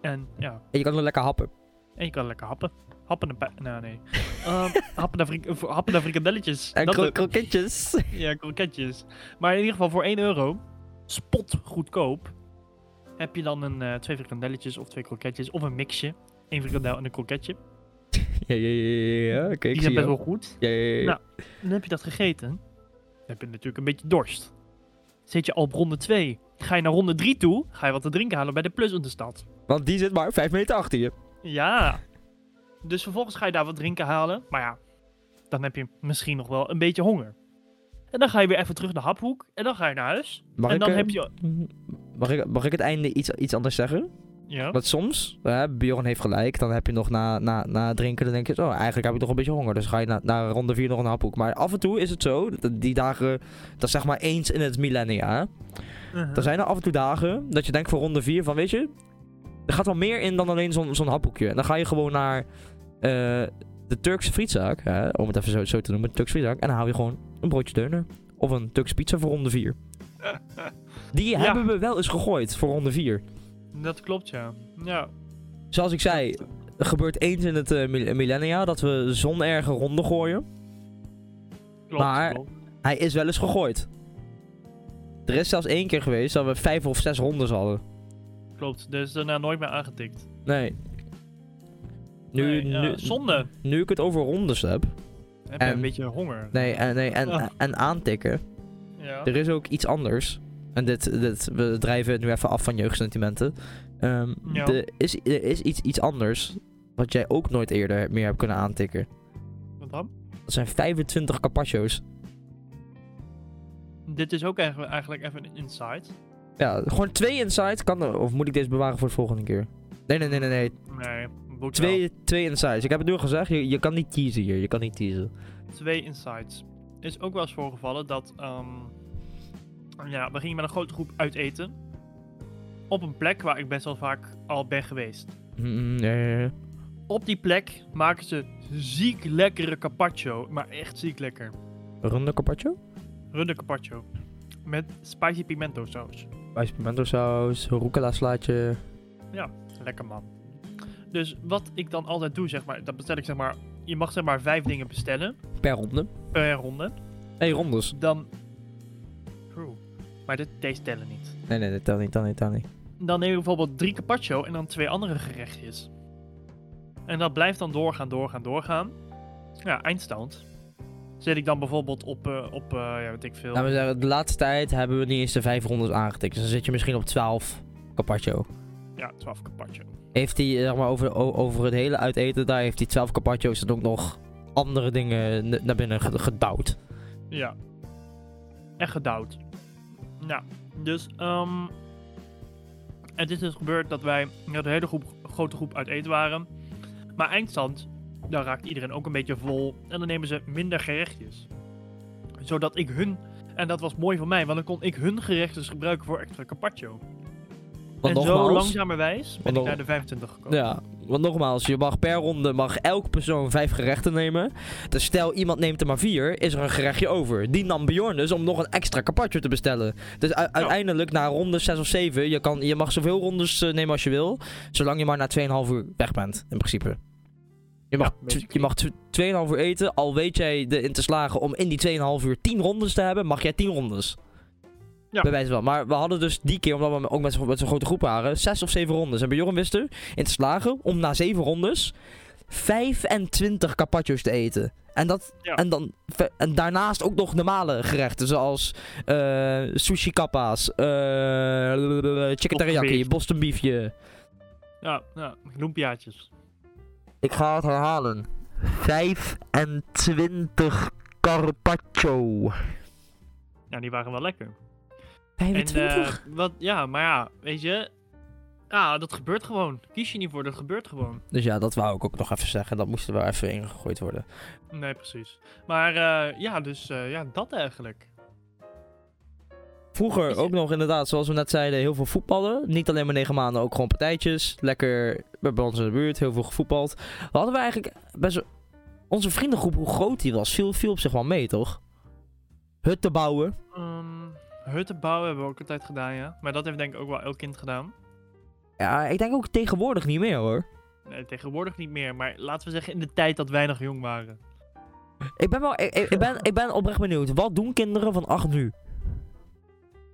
Speaker 2: en ja,
Speaker 1: En je kan er lekker happen.
Speaker 2: en je kan lekker happen. Happen en pij- Nou,
Speaker 1: *laughs*
Speaker 2: nee. Ehm, happen, naar frik- voor- happen naar frikandelletjes.
Speaker 1: En
Speaker 2: Dat
Speaker 1: kro
Speaker 2: ook.
Speaker 1: kroketjes. *laughs*
Speaker 2: ja, kroketjes. Maar in ieder geval voor 1 euro, spot goedkoop, heb je dan een, eh, twee frikandelletjes of twee kroketjes of een mixje. Eén frikandel en een kroketje.
Speaker 1: ja, ja, ja, ja, ja. Oké, ik
Speaker 2: Die
Speaker 1: zie
Speaker 2: zijn best
Speaker 1: jou.
Speaker 2: wel goed.
Speaker 1: Ja, ja, ja.
Speaker 2: Nou. Dan heb je dat gegeten. Dan heb je natuurlijk een beetje dorst. Zit je al op ronde 2. Ga je naar ronde 3 toe, ga je wat te drinken halen bij de plus in de stad.
Speaker 1: Want die zit maar 5 meter achter je.
Speaker 2: Ja. Dus vervolgens ga je daar wat drinken halen. Maar ja, dan heb je misschien nog wel een beetje honger. En dan ga je weer even terug naar Haphoek. En dan ga je naar huis.
Speaker 1: Mag
Speaker 2: en
Speaker 1: ik,
Speaker 2: dan
Speaker 1: eh,
Speaker 2: heb je...
Speaker 1: Mag ik, mag ik het einde iets, iets anders zeggen?
Speaker 2: Ja.
Speaker 1: Want soms, hè, Bjorn heeft gelijk, dan heb je nog na, na, na het drinken, dan denk je, oh, eigenlijk heb ik nog een beetje honger. Dus ga je na, na ronde 4 nog een haphoek. Maar af en toe is het zo, dat die dagen, dat is zeg maar eens in het millennia. Hè?
Speaker 2: Uh-huh.
Speaker 1: Dan zijn er af en toe dagen dat je denkt voor ronde 4 van, weet je, er gaat wel meer in dan alleen zo'n zo'n haphoekje. En dan ga je gewoon naar eh, de Turkse frietzaak, hè, om het even zo, zo te noemen, Turkse frietzaak. En dan haal je gewoon een broodje deuner of een Turkse pizza voor ronde 4. Die
Speaker 2: Ja.
Speaker 1: hebben we wel eens gegooid voor ronde 4.
Speaker 2: Dat klopt, ja. Ja.
Speaker 1: Zoals ik zei, er gebeurt eens in het eh, mil- millennia dat we zon erge ronden gooien.
Speaker 2: Klopt,
Speaker 1: Maar-
Speaker 2: klopt.
Speaker 1: Hij is wel eens gegooid. Er is zelfs één keer geweest dat we vijf of zes rondes hadden.
Speaker 2: Klopt. Dus daarna nooit meer aangetikt.
Speaker 1: Nee. Nu,
Speaker 2: Nee, ja,
Speaker 1: nu,
Speaker 2: zonde.
Speaker 1: nu ik het over rondes heb.
Speaker 2: Heb je
Speaker 1: en-
Speaker 2: een beetje honger.
Speaker 1: Nee, en, nee, en,
Speaker 2: Ah.
Speaker 1: en aantikken.
Speaker 2: Ja.
Speaker 1: Er is ook iets anders. En dit, dit, we drijven het nu even af van jeugdsentimenten. Ehm,
Speaker 2: Ja.
Speaker 1: Er is, er is iets, iets anders wat jij ook nooit eerder meer hebt kunnen aantikken.
Speaker 2: Wat dan?
Speaker 1: Dat zijn 25 carpaccio's.
Speaker 2: Dit is ook eigenlijk, eigenlijk even een insight.
Speaker 1: Ja, gewoon twee insights. Kan er, of moet ik deze bewaren voor de volgende keer? Nee, nee, nee, nee. nee.
Speaker 2: Nee, moet wel.
Speaker 1: Twee, twee insights. Ik heb het nu al gezegd. Je, je kan niet teasen hier. Je kan niet teasen.
Speaker 2: twee insights. Is ook wel eens voorgevallen dat. ehm, ja, we gingen met een grote groep uit eten. Op een plek waar ik best wel vaak al ben geweest.
Speaker 1: Mm, nee, nee,
Speaker 2: Op die plek maken ze ziek lekkere carpaccio. Maar echt ziek lekker.
Speaker 1: Ronde carpaccio?
Speaker 2: Runde carpaccio. Met spicy pimento saus.
Speaker 1: Wijs pimento saus, rucola slaatje.
Speaker 2: Lekker man. Dus wat ik dan altijd doe, zeg maar. Dat bestel ik zeg maar. Je mag zeg maar vijf dingen bestellen
Speaker 1: Per ronde.
Speaker 2: per ronde.
Speaker 1: Nee, rondes.
Speaker 2: Dan. True. Maar dit, deze tellen niet.
Speaker 1: Nee, nee, nee, tel niet, tel niet, tel niet.
Speaker 2: Dan neem ik bijvoorbeeld drie carpaccio en dan twee andere gerechtjes. En dat blijft dan doorgaan, doorgaan, doorgaan. Ja, eindstand. Zet ik dan bijvoorbeeld op, eh, op eh, ja, weet ik veel.
Speaker 1: Laten Nou, we zeggen, de laatste tijd hebben we niet eens de vijf rondes aangetikt. Dus dan zit je misschien op 12 carpaccio.
Speaker 2: Ja, 12 carpaccio.
Speaker 1: Heeft hij, zeg maar, over, o- over het hele uiteten, daar heeft hij 12 carpaccio's en ook nog andere dingen n- naar binnen ge- gedouwd.
Speaker 2: Ja. En gedouwd. Nou, dus, ehm het is dus gebeurd dat wij met een hele groep, grote groep uit eten waren. Maar eindstand, daar raakt iedereen ook een beetje vol. En dan nemen ze minder gerechtjes. Zodat ik hun, en dat was mooi voor mij, want dan kon ik hun gerechtjes gebruiken voor extra carpaccio.
Speaker 1: Want
Speaker 2: en
Speaker 1: nogmaals-
Speaker 2: zo langzamerwijs ben
Speaker 1: want nog-
Speaker 2: ik naar de 25 gekomen.
Speaker 1: Ja, want nogmaals, je mag per ronde mag elk persoon vijf gerechten nemen. Dus stel iemand neemt er maar vier, is er een gerechtje over. Die nam Bjorn dus om nog een extra carpaccio te bestellen. Dus u- uiteindelijk na ronde 6 of 7, je, kan, je mag zoveel rondes eh, nemen als je wil. Zolang je maar na 2,5 uur weg bent, in principe. Je mag,
Speaker 2: Ja,
Speaker 1: tw-
Speaker 2: basically.
Speaker 1: je mag tw- 2,5 uur eten, al weet jij erin te slagen om in die 2,5 uur 10 rondes te hebben, mag jij 10 rondes.
Speaker 2: Ja.
Speaker 1: Bij wijze van. Maar we hadden dus die keer, omdat we ook met, z'n- met zo'n grote groep waren, 6 of 7 rondes. En bij Joram wist er in te slagen om na 7 rondes 25 carpaccio's te eten. En, dat,
Speaker 2: Ja.
Speaker 1: en, dan, ve- en daarnaast ook nog normale gerechten, zoals eh, sushi kappa's, eh, chicken teriyaki,
Speaker 2: beef.
Speaker 1: Boston biefje.
Speaker 2: Ja, ja, loempiaatjes.
Speaker 1: Ik ga het herhalen. 25 carpaccio.
Speaker 2: Ja, die waren wel lekker. En,
Speaker 1: 25?
Speaker 2: eh, wat, ja, maar ja, weet je. Ja, dat gebeurt gewoon. Kies je niet voor, dat gebeurt gewoon.
Speaker 1: Dus ja, dat wou ik ook nog even zeggen. Dat moest er wel even ingegooid worden.
Speaker 2: Nee, precies. Maar eh, ja, dus eh, ja, dat eigenlijk.
Speaker 1: Vroeger
Speaker 2: Is-
Speaker 1: ook nog inderdaad, zoals we net zeiden, heel veel voetballen. Niet alleen maar negen maanden, ook gewoon partijtjes. Lekker bij ons in de buurt, heel veel gevoetbald. We hadden we eigenlijk best wel- Onze vriendengroep, hoe groot die was, viel, viel op zich wel mee, toch? Hutten bouwen.
Speaker 2: Ehm, hutten bouwen hebben we ook altijd gedaan, ja. Maar dat heeft denk ik ook wel elk kind gedaan.
Speaker 1: Ja, ik denk ook tegenwoordig niet meer, hoor.
Speaker 2: Nee, tegenwoordig niet meer. Maar laten we zeggen in de tijd dat wij nog jong waren.
Speaker 1: Ik ben, wel, ik, ik- ik ben, ik ben oprecht benieuwd. Wat doen kinderen van acht nu?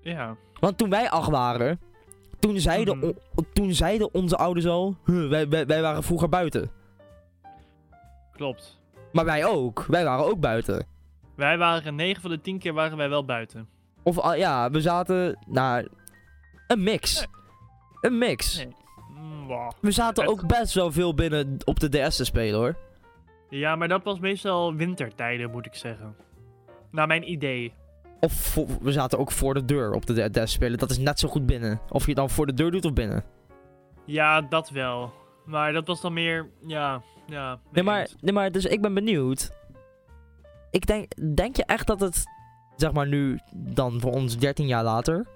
Speaker 2: Ja.
Speaker 1: Want toen wij acht waren, toen zeiden,
Speaker 2: Mhm.
Speaker 1: on- toen zeiden onze ouders al... "Huh, wij, wij, wij waren vroeger buiten.
Speaker 2: Klopt.
Speaker 1: Maar wij ook. Wij waren ook buiten.
Speaker 2: Wij waren 9 van de 10 keer waren wij wel buiten.
Speaker 1: Of ah, ja, we zaten naar een mix. Een mix.
Speaker 2: Nee. Mm, wah.
Speaker 1: We zaten
Speaker 2: Het-
Speaker 1: ook best wel veel binnen op de DS te spelen hoor.
Speaker 2: Ja, maar dat was meestal wintertijden, moet ik zeggen. Naar mijn idee.
Speaker 1: Of vo- we zaten ook voor de deur op de DS te spelen. Dat is net zo goed binnen. Of je het dan voor de deur doet of binnen.
Speaker 2: Ja, dat wel. Maar dat was dan meer, ja, ja. mee
Speaker 1: Nee maar,
Speaker 2: eens.
Speaker 1: nee, maar dus ik ben benieuwd. Ik denk, denk je echt dat het, zeg maar nu, dan voor ons 13 jaar later,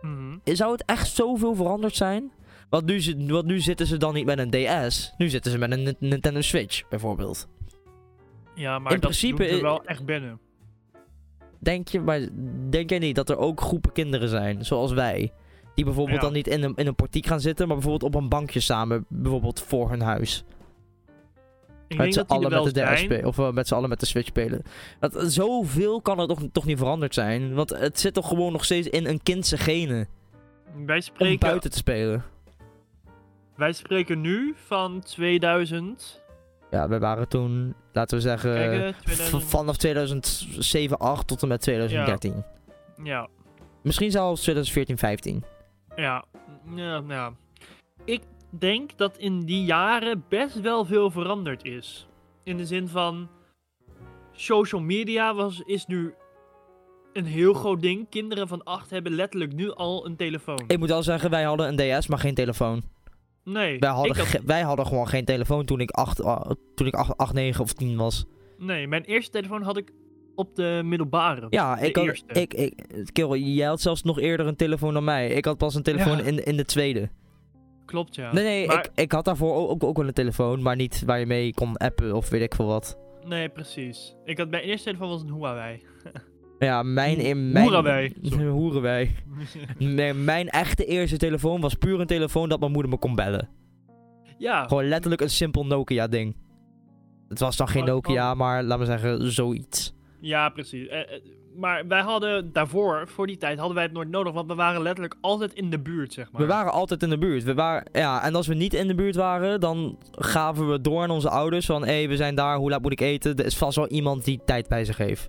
Speaker 2: Mhm.
Speaker 1: zou het echt zoveel veranderd zijn? Want nu, zit- want nu zitten ze dan niet met een DS, nu zitten ze met een Ni- Nintendo Switch bijvoorbeeld.
Speaker 2: Ja, maar
Speaker 1: in
Speaker 2: dat
Speaker 1: principe eh,
Speaker 2: doet er
Speaker 1: i-
Speaker 2: wel echt binnen.
Speaker 1: Denk, je, maar, denk jij niet dat er ook groepen kinderen zijn, zoals wij, die bijvoorbeeld
Speaker 2: Ja.
Speaker 1: dan niet in een, in een portiek gaan zitten, maar bijvoorbeeld op een bankje samen, bijvoorbeeld voor hun huis?
Speaker 2: Ik
Speaker 1: Met
Speaker 2: denk
Speaker 1: z'n
Speaker 2: dat die er
Speaker 1: allen
Speaker 2: wel
Speaker 1: met de DS
Speaker 2: zijn.
Speaker 1: spelen. Of eh, met z'n allen met de Switch spelen. Dat, zoveel kan er toch, toch niet veranderd zijn. Want het zit toch gewoon nog steeds in een kindse genen.
Speaker 2: Wij
Speaker 1: Om
Speaker 2: spreken,
Speaker 1: buiten te spelen.
Speaker 2: wij spreken nu van 2000.
Speaker 1: Ja, wij waren toen, laten we zeggen.
Speaker 2: Kijk, eh,
Speaker 1: v-
Speaker 2: 2000.
Speaker 1: Vanaf 2007, 8 tot en met 2013.
Speaker 2: Ja,
Speaker 1: Misschien zelfs 2014, 15.
Speaker 2: ja, ja, ja. Ik denk dat in die jaren best wel veel veranderd is. In de zin van, social media was, is nu een heel groot ding. Kinderen van 8 hebben letterlijk nu al een telefoon.
Speaker 1: Ik moet wel zeggen, wij hadden een DS, maar geen telefoon.
Speaker 2: nee,
Speaker 1: Wij hadden,
Speaker 2: ik had-
Speaker 1: ge- wij hadden gewoon geen telefoon toen ik 8, ah, toen ik 8, 9 of 10 was.
Speaker 2: nee, mijn eerste telefoon had ik op de middelbare.
Speaker 1: Ja,
Speaker 2: de
Speaker 1: ik had.
Speaker 2: eerste.
Speaker 1: Ik, ik, Kerel, jij had zelfs nog eerder een telefoon dan mij. Ik had pas een telefoon
Speaker 2: Ja.
Speaker 1: in, in de tweede.
Speaker 2: Klopt, ja.
Speaker 1: Nee, nee,
Speaker 2: Maar-
Speaker 1: ik, ik had daarvoor ook, ook, ook wel een telefoon, maar niet waar je mee kon appen of weet ik veel wat.
Speaker 2: Nee, precies. Ik had, mijn eerste telefoon was een Huawei. *laughs*
Speaker 1: Ja, mijn... In,
Speaker 2: Hoe-
Speaker 1: mijn
Speaker 2: hoerenwei.
Speaker 1: *laughs*
Speaker 2: Sorry.
Speaker 1: Hoerenwei. Nee, mijn echte eerste telefoon was puur een telefoon dat mijn moeder me kon bellen.
Speaker 2: ja,
Speaker 1: Gewoon letterlijk een simpel Nokia ding. Het was dan geen
Speaker 2: Maar-
Speaker 1: Nokia, maar laten we zeggen zoiets.
Speaker 2: ja, precies. Eh, eh, maar wij hadden daarvoor, voor die tijd, hadden wij het nooit nodig. Want we waren letterlijk altijd in de buurt, zeg maar.
Speaker 1: We waren altijd in de buurt. We waren, ja, en als we niet in de buurt waren, dan gaven we door aan onze ouders van... ...hé, hey, we zijn daar, hoe laat moet ik eten? Er is vast wel iemand die tijd bij zich heeft.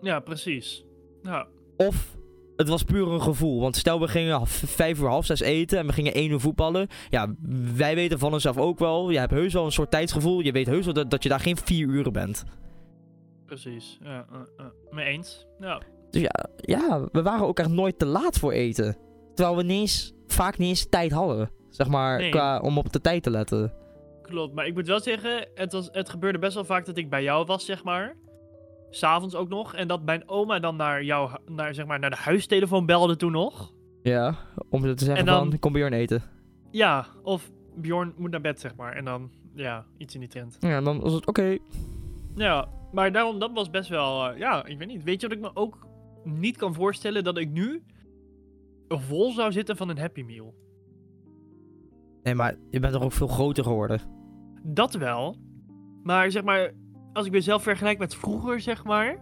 Speaker 2: Ja, precies. Ja,
Speaker 1: Of het was puur een gevoel. Want stel we gingen half- vijf uur half zes eten en we gingen één uur voetballen. Ja, wij weten van onszelf ook wel. Je hebt heus wel een soort tijdsgevoel. Je weet heus wel dat, dat je daar geen vier uren bent.
Speaker 2: precies. Ja, eh, eh, Mee eens. Ja.
Speaker 1: Dus ja, ja, we waren ook echt nooit te laat voor eten. Terwijl we niet eens, vaak niet eens tijd hadden. Zeg maar,
Speaker 2: Nee.
Speaker 1: qua, om op de tijd te letten.
Speaker 2: Klopt, maar ik moet wel zeggen, het, was, het gebeurde best wel vaak dat ik bij jou was, zeg maar. S'avonds ook nog. En dat mijn oma dan naar jou, hu- naar, zeg maar, naar de huistelefoon belde toen nog.
Speaker 1: Ja, om te zeggen
Speaker 2: En dan-
Speaker 1: van, kom Bjorn eten.
Speaker 2: Ja, of Bjorn moet naar bed, zeg maar. En dan, ja, iets in die trend.
Speaker 1: Ja, en dan was het oké.
Speaker 2: Ja, maar daarom, dat was best wel, eh, ja, ik weet niet. Weet je wat ik me ook niet kan voorstellen? Dat ik nu vol zou zitten van een Happy Meal.
Speaker 1: Nee, maar je bent toch ook veel groter geworden.
Speaker 2: Dat wel. Maar zeg maar, als ik mezelf vergelijk met vroeger, zeg maar.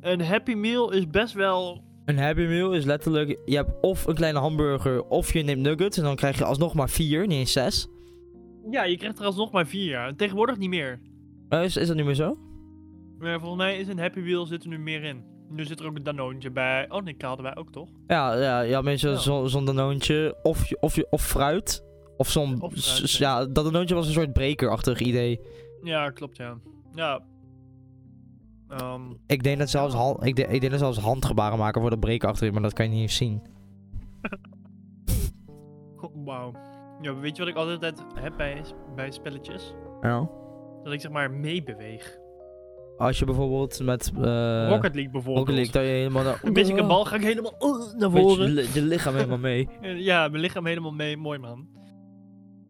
Speaker 2: Een Happy Meal is best wel,
Speaker 1: Een Happy Meal is letterlijk, je hebt of een kleine hamburger of je neemt nuggets. En dan krijg je alsnog maar vier, niet eens zes.
Speaker 2: ja, je krijgt er alsnog maar vier jaar. Tegenwoordig niet meer.
Speaker 1: Eh, is, is dat niet meer zo?
Speaker 2: Maar volgens mij is een Happy Meal zit er nu meer in. Nu zit er ook een Danoontje bij. Oh nee, K hadden wij ook toch?
Speaker 1: Ja, ja, ja mensen,
Speaker 2: Ja.
Speaker 1: zo- zo'n danoontje of, je- of, je- of fruit. Of zo'n...
Speaker 2: Of fruit,
Speaker 1: s-
Speaker 2: ja.
Speaker 1: ja, dat danoontje was een soort brekerachtig idee.
Speaker 2: Ja, klopt ja. Ja. Ehm,
Speaker 1: Ik denk dat zelfs, hand, ik denk, ik denk dat zelfs handgebaren maken voor dat brekerachtig, maar dat kan je niet eens zien.
Speaker 2: Goh, Wauw. Ja, weet je wat ik altijd heb bij, bij spelletjes?
Speaker 1: Ja.
Speaker 2: Dat ik zeg maar meebeweeg.
Speaker 1: Als je bijvoorbeeld met... eh
Speaker 2: Rocket League bijvoorbeeld.
Speaker 1: Rocket League, dat je helemaal... naar-
Speaker 2: Een beetje een bal ga ik helemaal oh, naar
Speaker 1: Met je,
Speaker 2: voren.
Speaker 1: li- je lichaam helemaal
Speaker 2: *laughs*
Speaker 1: mee.
Speaker 2: Eh, Ja, mijn lichaam helemaal mee. Mooi man.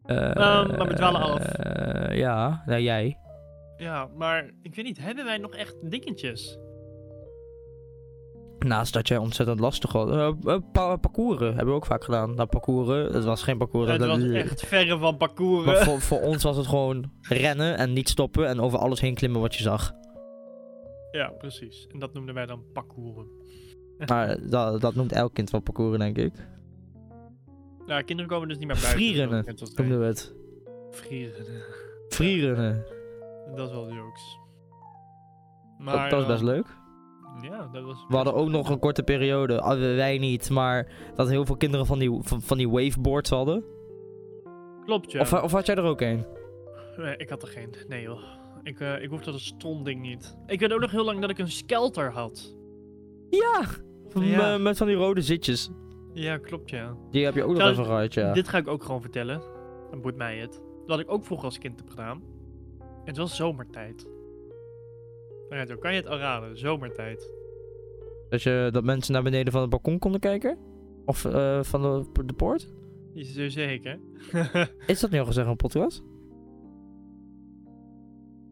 Speaker 1: Eh,
Speaker 2: maar we dwalen af.
Speaker 1: eh, ja, nou jij.
Speaker 2: Ja, maar ik weet niet, hebben wij nog echt dingetjes?
Speaker 1: Oh, Naast dat jij ontzettend lastig was. Eh, eh, pa- parcouren hebben we ook vaak gedaan. Nou, parcouren, het was geen parcours.
Speaker 2: Het
Speaker 1: dat-
Speaker 2: was echt verre van
Speaker 1: Maar
Speaker 2: *laughs* parcouren.
Speaker 1: voor, voor ons was het gewoon rennen en niet stoppen en over alles heen klimmen wat je zag.
Speaker 2: Ja, precies. En dat noemden wij dan parcouren.
Speaker 1: Maar dat, dat noemt elk kind wel parcouren, denk ik.
Speaker 2: Ja, kinderen komen dus niet meer buiten.
Speaker 1: Vrierennen.
Speaker 2: Dat is wel net
Speaker 1: Noemden
Speaker 2: als wij.
Speaker 1: we het.
Speaker 2: Vrierennen.
Speaker 1: Freerunnen.
Speaker 2: Dat is wel jokes. Maar,
Speaker 1: Dat, dat was best
Speaker 2: eh,
Speaker 1: leuk.
Speaker 2: Ja, dat was
Speaker 1: We hadden ook nog een korte periode, ah, wij niet, maar dat heel veel kinderen van die, van, van die waveboards hadden.
Speaker 2: Klopt, ja.
Speaker 1: Of, eh, of had jij er ook een?
Speaker 2: Nee, ik had er geen. Nee joh. Ik, eh ik hoefde dat stom ding niet. Ik weet ook nog heel lang dat ik een skelter had.
Speaker 1: Ja! M-
Speaker 2: Ja.
Speaker 1: eh, Met van die rode zitjes.
Speaker 2: Ja, klopt ja.
Speaker 1: Die heb je ook nog
Speaker 2: Zou-
Speaker 1: even gehad, ja.
Speaker 2: Dit ga ik ook gewoon vertellen. Dan boeit mij het. Wat ik ook vroeger als kind heb gedaan. Het was zomertijd. Alright, dan kan je het al raden. Zomertijd.
Speaker 1: Dat, je, dat mensen naar beneden van het balkon konden kijken? Of eh, van de, de poort?
Speaker 2: Is er zeker? *laughs*
Speaker 1: Is dat nu al gezegd in een podcast?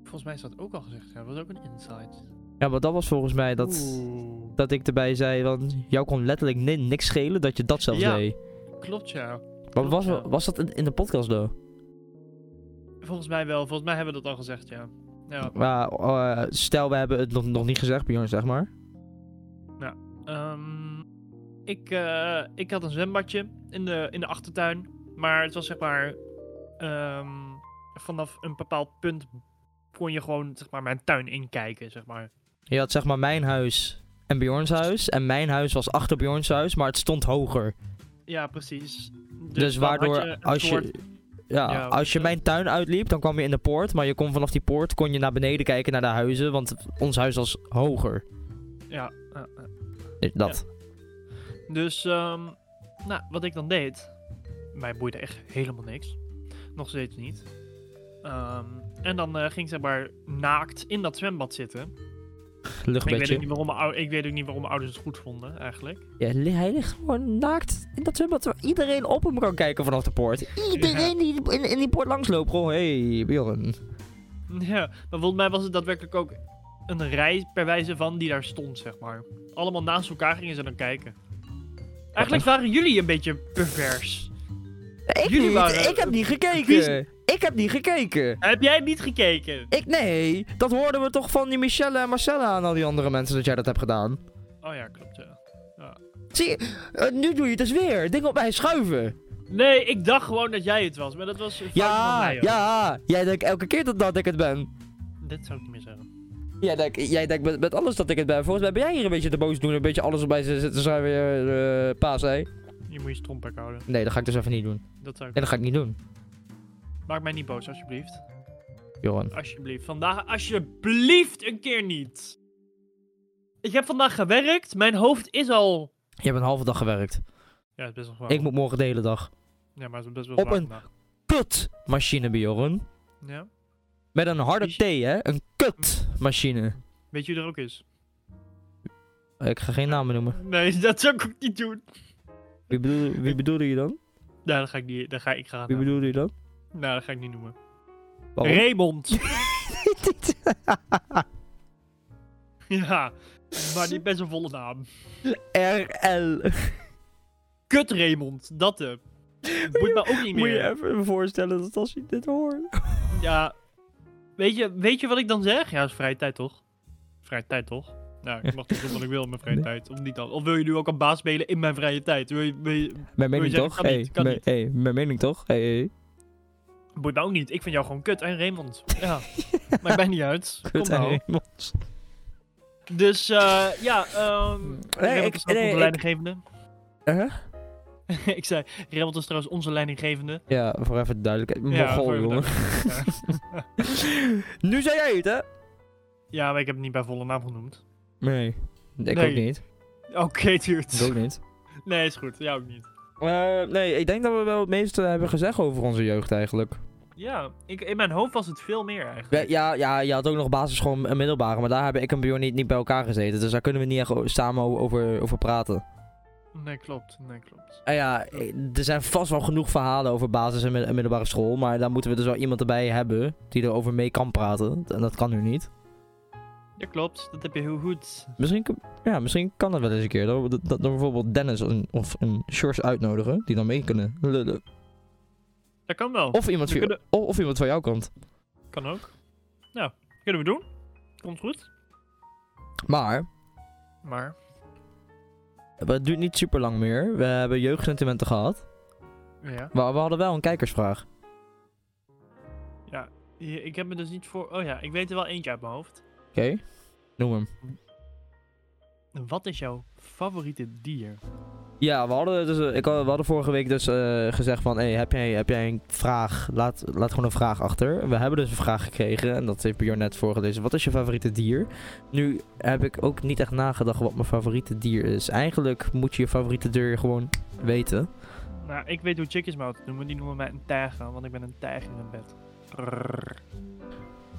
Speaker 2: Volgens mij is dat ook al gezegd. Ja, dat was ook een insight.
Speaker 1: Ja, maar dat was volgens mij dat,
Speaker 2: Oeh.
Speaker 1: dat ik erbij zei, want jou kon letterlijk ni- niks schelen dat je dat zelfs
Speaker 2: Ja.
Speaker 1: deed.
Speaker 2: Klopt ja.
Speaker 1: Maar was,
Speaker 2: Ja.
Speaker 1: was dat in, in de podcast, though?
Speaker 2: Volgens mij wel. Volgens mij hebben we dat al gezegd ja. Ja.
Speaker 1: Maar eh, stel, we hebben het nog, nog niet gezegd, Bjorn, zeg maar.
Speaker 2: Ehm, ik, eh, ik had een zwembadje in de, in de achtertuin. Maar het was zeg maar. ehm, vanaf een bepaald punt kon je gewoon zeg maar, mijn tuin inkijken. Zeg maar.
Speaker 1: Je had zeg maar mijn huis en Bjorns huis. En mijn huis was achter Bjorns huis, maar het stond hoger.
Speaker 2: Ja, precies. Dus,
Speaker 1: Dus,
Speaker 2: dan had
Speaker 1: waardoor
Speaker 2: een
Speaker 1: als
Speaker 2: soort-
Speaker 1: je. Ja,
Speaker 2: Ja,
Speaker 1: als je
Speaker 2: eh,
Speaker 1: mijn tuin uitliep, dan kwam je in de poort. Maar je kon vanaf die poort kon je naar beneden kijken naar de huizen. Want ons huis was hoger.
Speaker 2: Ja, eh, eh.
Speaker 1: Eh, Dat.
Speaker 2: Dus, ehm, nou, wat ik dan deed. Mij boeide echt helemaal niks. Nog steeds niet. Ehm, en dan eh, ging ik zeg maar naakt in dat zwembad zitten. Ik weet, ook
Speaker 1: Luchtbedje.
Speaker 2: niet waarom mijn ou- ik weet ook niet waarom mijn ouders het goed vonden, eigenlijk.
Speaker 1: Ja, li- hij ligt gewoon naakt in dat zwembad waar iedereen op hem kan kijken vanaf de poort. Iedereen die in, in die poort langsloopt. Gewoon, hey, Bjorn.
Speaker 2: *laughs* Ja, maar volgens mij was het daadwerkelijk ook een rij per wijze van die daar stond, zeg maar. Allemaal naast elkaar gingen ze dan kijken. Eigenlijk waren jullie een beetje pervers.
Speaker 1: Ik,
Speaker 2: Jullie
Speaker 1: niet,
Speaker 2: waren-
Speaker 1: ik heb niet gekeken.
Speaker 2: Vies-
Speaker 1: Ik heb niet gekeken.
Speaker 2: Heb jij niet gekeken?
Speaker 1: Ik, nee, dat hoorden we toch van die Michelle en Marcella en al die andere mensen dat jij dat hebt gedaan.
Speaker 2: Oh ja, klopt ja.
Speaker 1: Zie je, eh, nu doe je het dus weer. Ding op mij schuiven.
Speaker 2: Nee, ik dacht gewoon dat jij het was, maar dat was een fout van
Speaker 1: Ja,
Speaker 2: mij. hoor.
Speaker 1: ja. Jij denkt elke keer dat, dat ik het ben.
Speaker 2: Dit zou ik niet meer zeggen.
Speaker 1: Jij denkt, jij denkt met, met alles dat ik het ben. Volgens mij ben jij hier een beetje te boos doen. Een beetje alles op mij zitten te schuiven. eh, eh, paas, hè?
Speaker 2: Je moet je strompak houden.
Speaker 1: Nee, dat ga ik dus even niet doen.
Speaker 2: Dat zou ik...
Speaker 1: Nee, dat ga ik niet doen,
Speaker 2: Maak mij niet boos, alsjeblieft.
Speaker 1: Johan.
Speaker 2: Alsjeblieft. Vandaag, alsjeblieft, een keer niet. Ik heb vandaag gewerkt. Mijn hoofd is al...
Speaker 1: Je hebt een halve dag gewerkt.
Speaker 2: Ja, het is best wel warm.
Speaker 1: Ik moet morgen de hele dag.
Speaker 2: Ja, maar het is best wel
Speaker 1: Op
Speaker 2: zwaar
Speaker 1: een-
Speaker 2: vandaag.
Speaker 1: Kutmachine, Bjorn.
Speaker 2: Ja.
Speaker 1: Met een harde
Speaker 2: Is-
Speaker 1: T, hè? Een kutmachine.
Speaker 2: Weet je wie er ook is?
Speaker 1: Ik ga geen namen noemen.
Speaker 2: Nee, *laughs* dat zou ik ook niet doen.
Speaker 1: Wie bedoelde, wie bedoelde je dan?
Speaker 2: Nou, dat ga ik niet. Dat ga ik graag.
Speaker 1: Wie
Speaker 2: Nou,
Speaker 1: bedoelde je dan?
Speaker 2: dat ga ik niet noemen.
Speaker 1: Waarom? *laughs*
Speaker 2: Raymond. *laughs* ja, maar die best een volle naam.
Speaker 1: RL.
Speaker 2: Kut Raymond, dat hem. Moet me ook niet
Speaker 1: Moet je
Speaker 2: meer.
Speaker 1: even voorstellen dat als je dit hoort.
Speaker 2: Ja. Weet je, weet je wat ik dan zeg? Ja, dat is vrije tijd toch? Vrije tijd toch? Nou, ik mag toch doen wat ik wil in mijn vrije
Speaker 1: Nee.
Speaker 2: tijd. Of niet dan? Of wil je nu ook een baas spelen in mijn vrije tijd? Wil je, wil je...
Speaker 1: Mijn
Speaker 2: Moet
Speaker 1: mening
Speaker 2: je zeggen,
Speaker 1: toch?
Speaker 2: kan
Speaker 1: Hey,
Speaker 2: niet, kan
Speaker 1: mijn-
Speaker 2: niet.
Speaker 1: hey, mijn mening toch? Hey, hey.
Speaker 2: Boeit me ook niet. Ik vind jou gewoon kut en Raymond.
Speaker 1: *laughs*
Speaker 2: Ja. Maakt mij niet uit. Kom
Speaker 1: Kut en
Speaker 2: nou.
Speaker 1: Raymond.
Speaker 2: Dus eh, ja, ehm Raymond
Speaker 1: ik-
Speaker 2: is trouwens
Speaker 1: nee,
Speaker 2: onze
Speaker 1: ik-
Speaker 2: leidinggevende.
Speaker 1: Huh?
Speaker 2: *laughs* ik zei, Raymond is trouwens onze leidinggevende.
Speaker 1: Ja, voor even de duidelijkheid.
Speaker 2: Ja,
Speaker 1: Mogol,
Speaker 2: voor even
Speaker 1: jongen. *laughs* nu zei jij het, hè?
Speaker 2: Ja, maar ik heb hem niet bij volle naam genoemd.
Speaker 1: Nee. Ik
Speaker 2: Nee.
Speaker 1: ook niet.
Speaker 2: Oké,
Speaker 1: Ik ook
Speaker 2: duurt.
Speaker 1: niet.
Speaker 2: Nee, is goed. Jou ook niet.
Speaker 1: Eh, nee, ik denk dat we wel het meeste hebben gezegd over onze jeugd eigenlijk.
Speaker 2: Ja, ik, in mijn hoofd was het veel meer
Speaker 1: Ja,
Speaker 2: eigenlijk.
Speaker 1: ja, ja, je had ook nog basisschool en middelbare, maar daar hebben ik en Bjorn niet, niet bij elkaar gezeten. Dus daar kunnen we niet echt o- samen o- over, over praten.
Speaker 2: Nee, klopt. Nee, klopt.
Speaker 1: Ah ja, eh, er zijn vast wel genoeg verhalen over basis- en mid- en middelbare school. Maar daar moeten we dus wel iemand erbij hebben die erover mee kan praten. En dat kan nu niet.
Speaker 2: Ja, klopt. Dat heb je heel goed.
Speaker 1: Misschien, kun- ja, misschien kan dat wel eens een keer. Dat we, dat, dat we bijvoorbeeld Dennis een- of een Shores uitnodigen. Die dan mee kunnen lullen.
Speaker 2: Dat kan wel.
Speaker 1: Of iemand,
Speaker 2: We
Speaker 1: van-
Speaker 2: kunnen-
Speaker 1: of, of iemand van jouw kant.
Speaker 2: Kan ook. Nou, kunnen we doen. Komt goed.
Speaker 1: Maar
Speaker 2: Maar...
Speaker 1: het duurt niet super lang meer. We hebben jeugdsentimenten gehad.
Speaker 2: Ja.
Speaker 1: Maar we hadden wel een kijkersvraag.
Speaker 2: Ja, i- ik heb me dus niet voor... Oh ja, ik weet er wel eentje uit mijn hoofd.
Speaker 1: Oké, noem hem.
Speaker 2: Wat is jouw favoriete dier?
Speaker 1: Ja, we hadden, dus, eh, ik, had- we hadden vorige week dus eh, gezegd van, hey, heb, jij, heb jij een vraag? Laat, laat gewoon een vraag achter. We hebben dus een vraag gekregen en dat heeft Bjorn net voorgelezen. Wat is je favoriete dier? Nu heb ik ook niet echt nagedacht wat mijn favoriete dier is. Eigenlijk moet je je favoriete dier gewoon weten.
Speaker 2: Nou, ik weet hoe chickies mij altijd noemen. Die noemen mij een tijger, want ik ben een tijger in mijn bed. Brrr.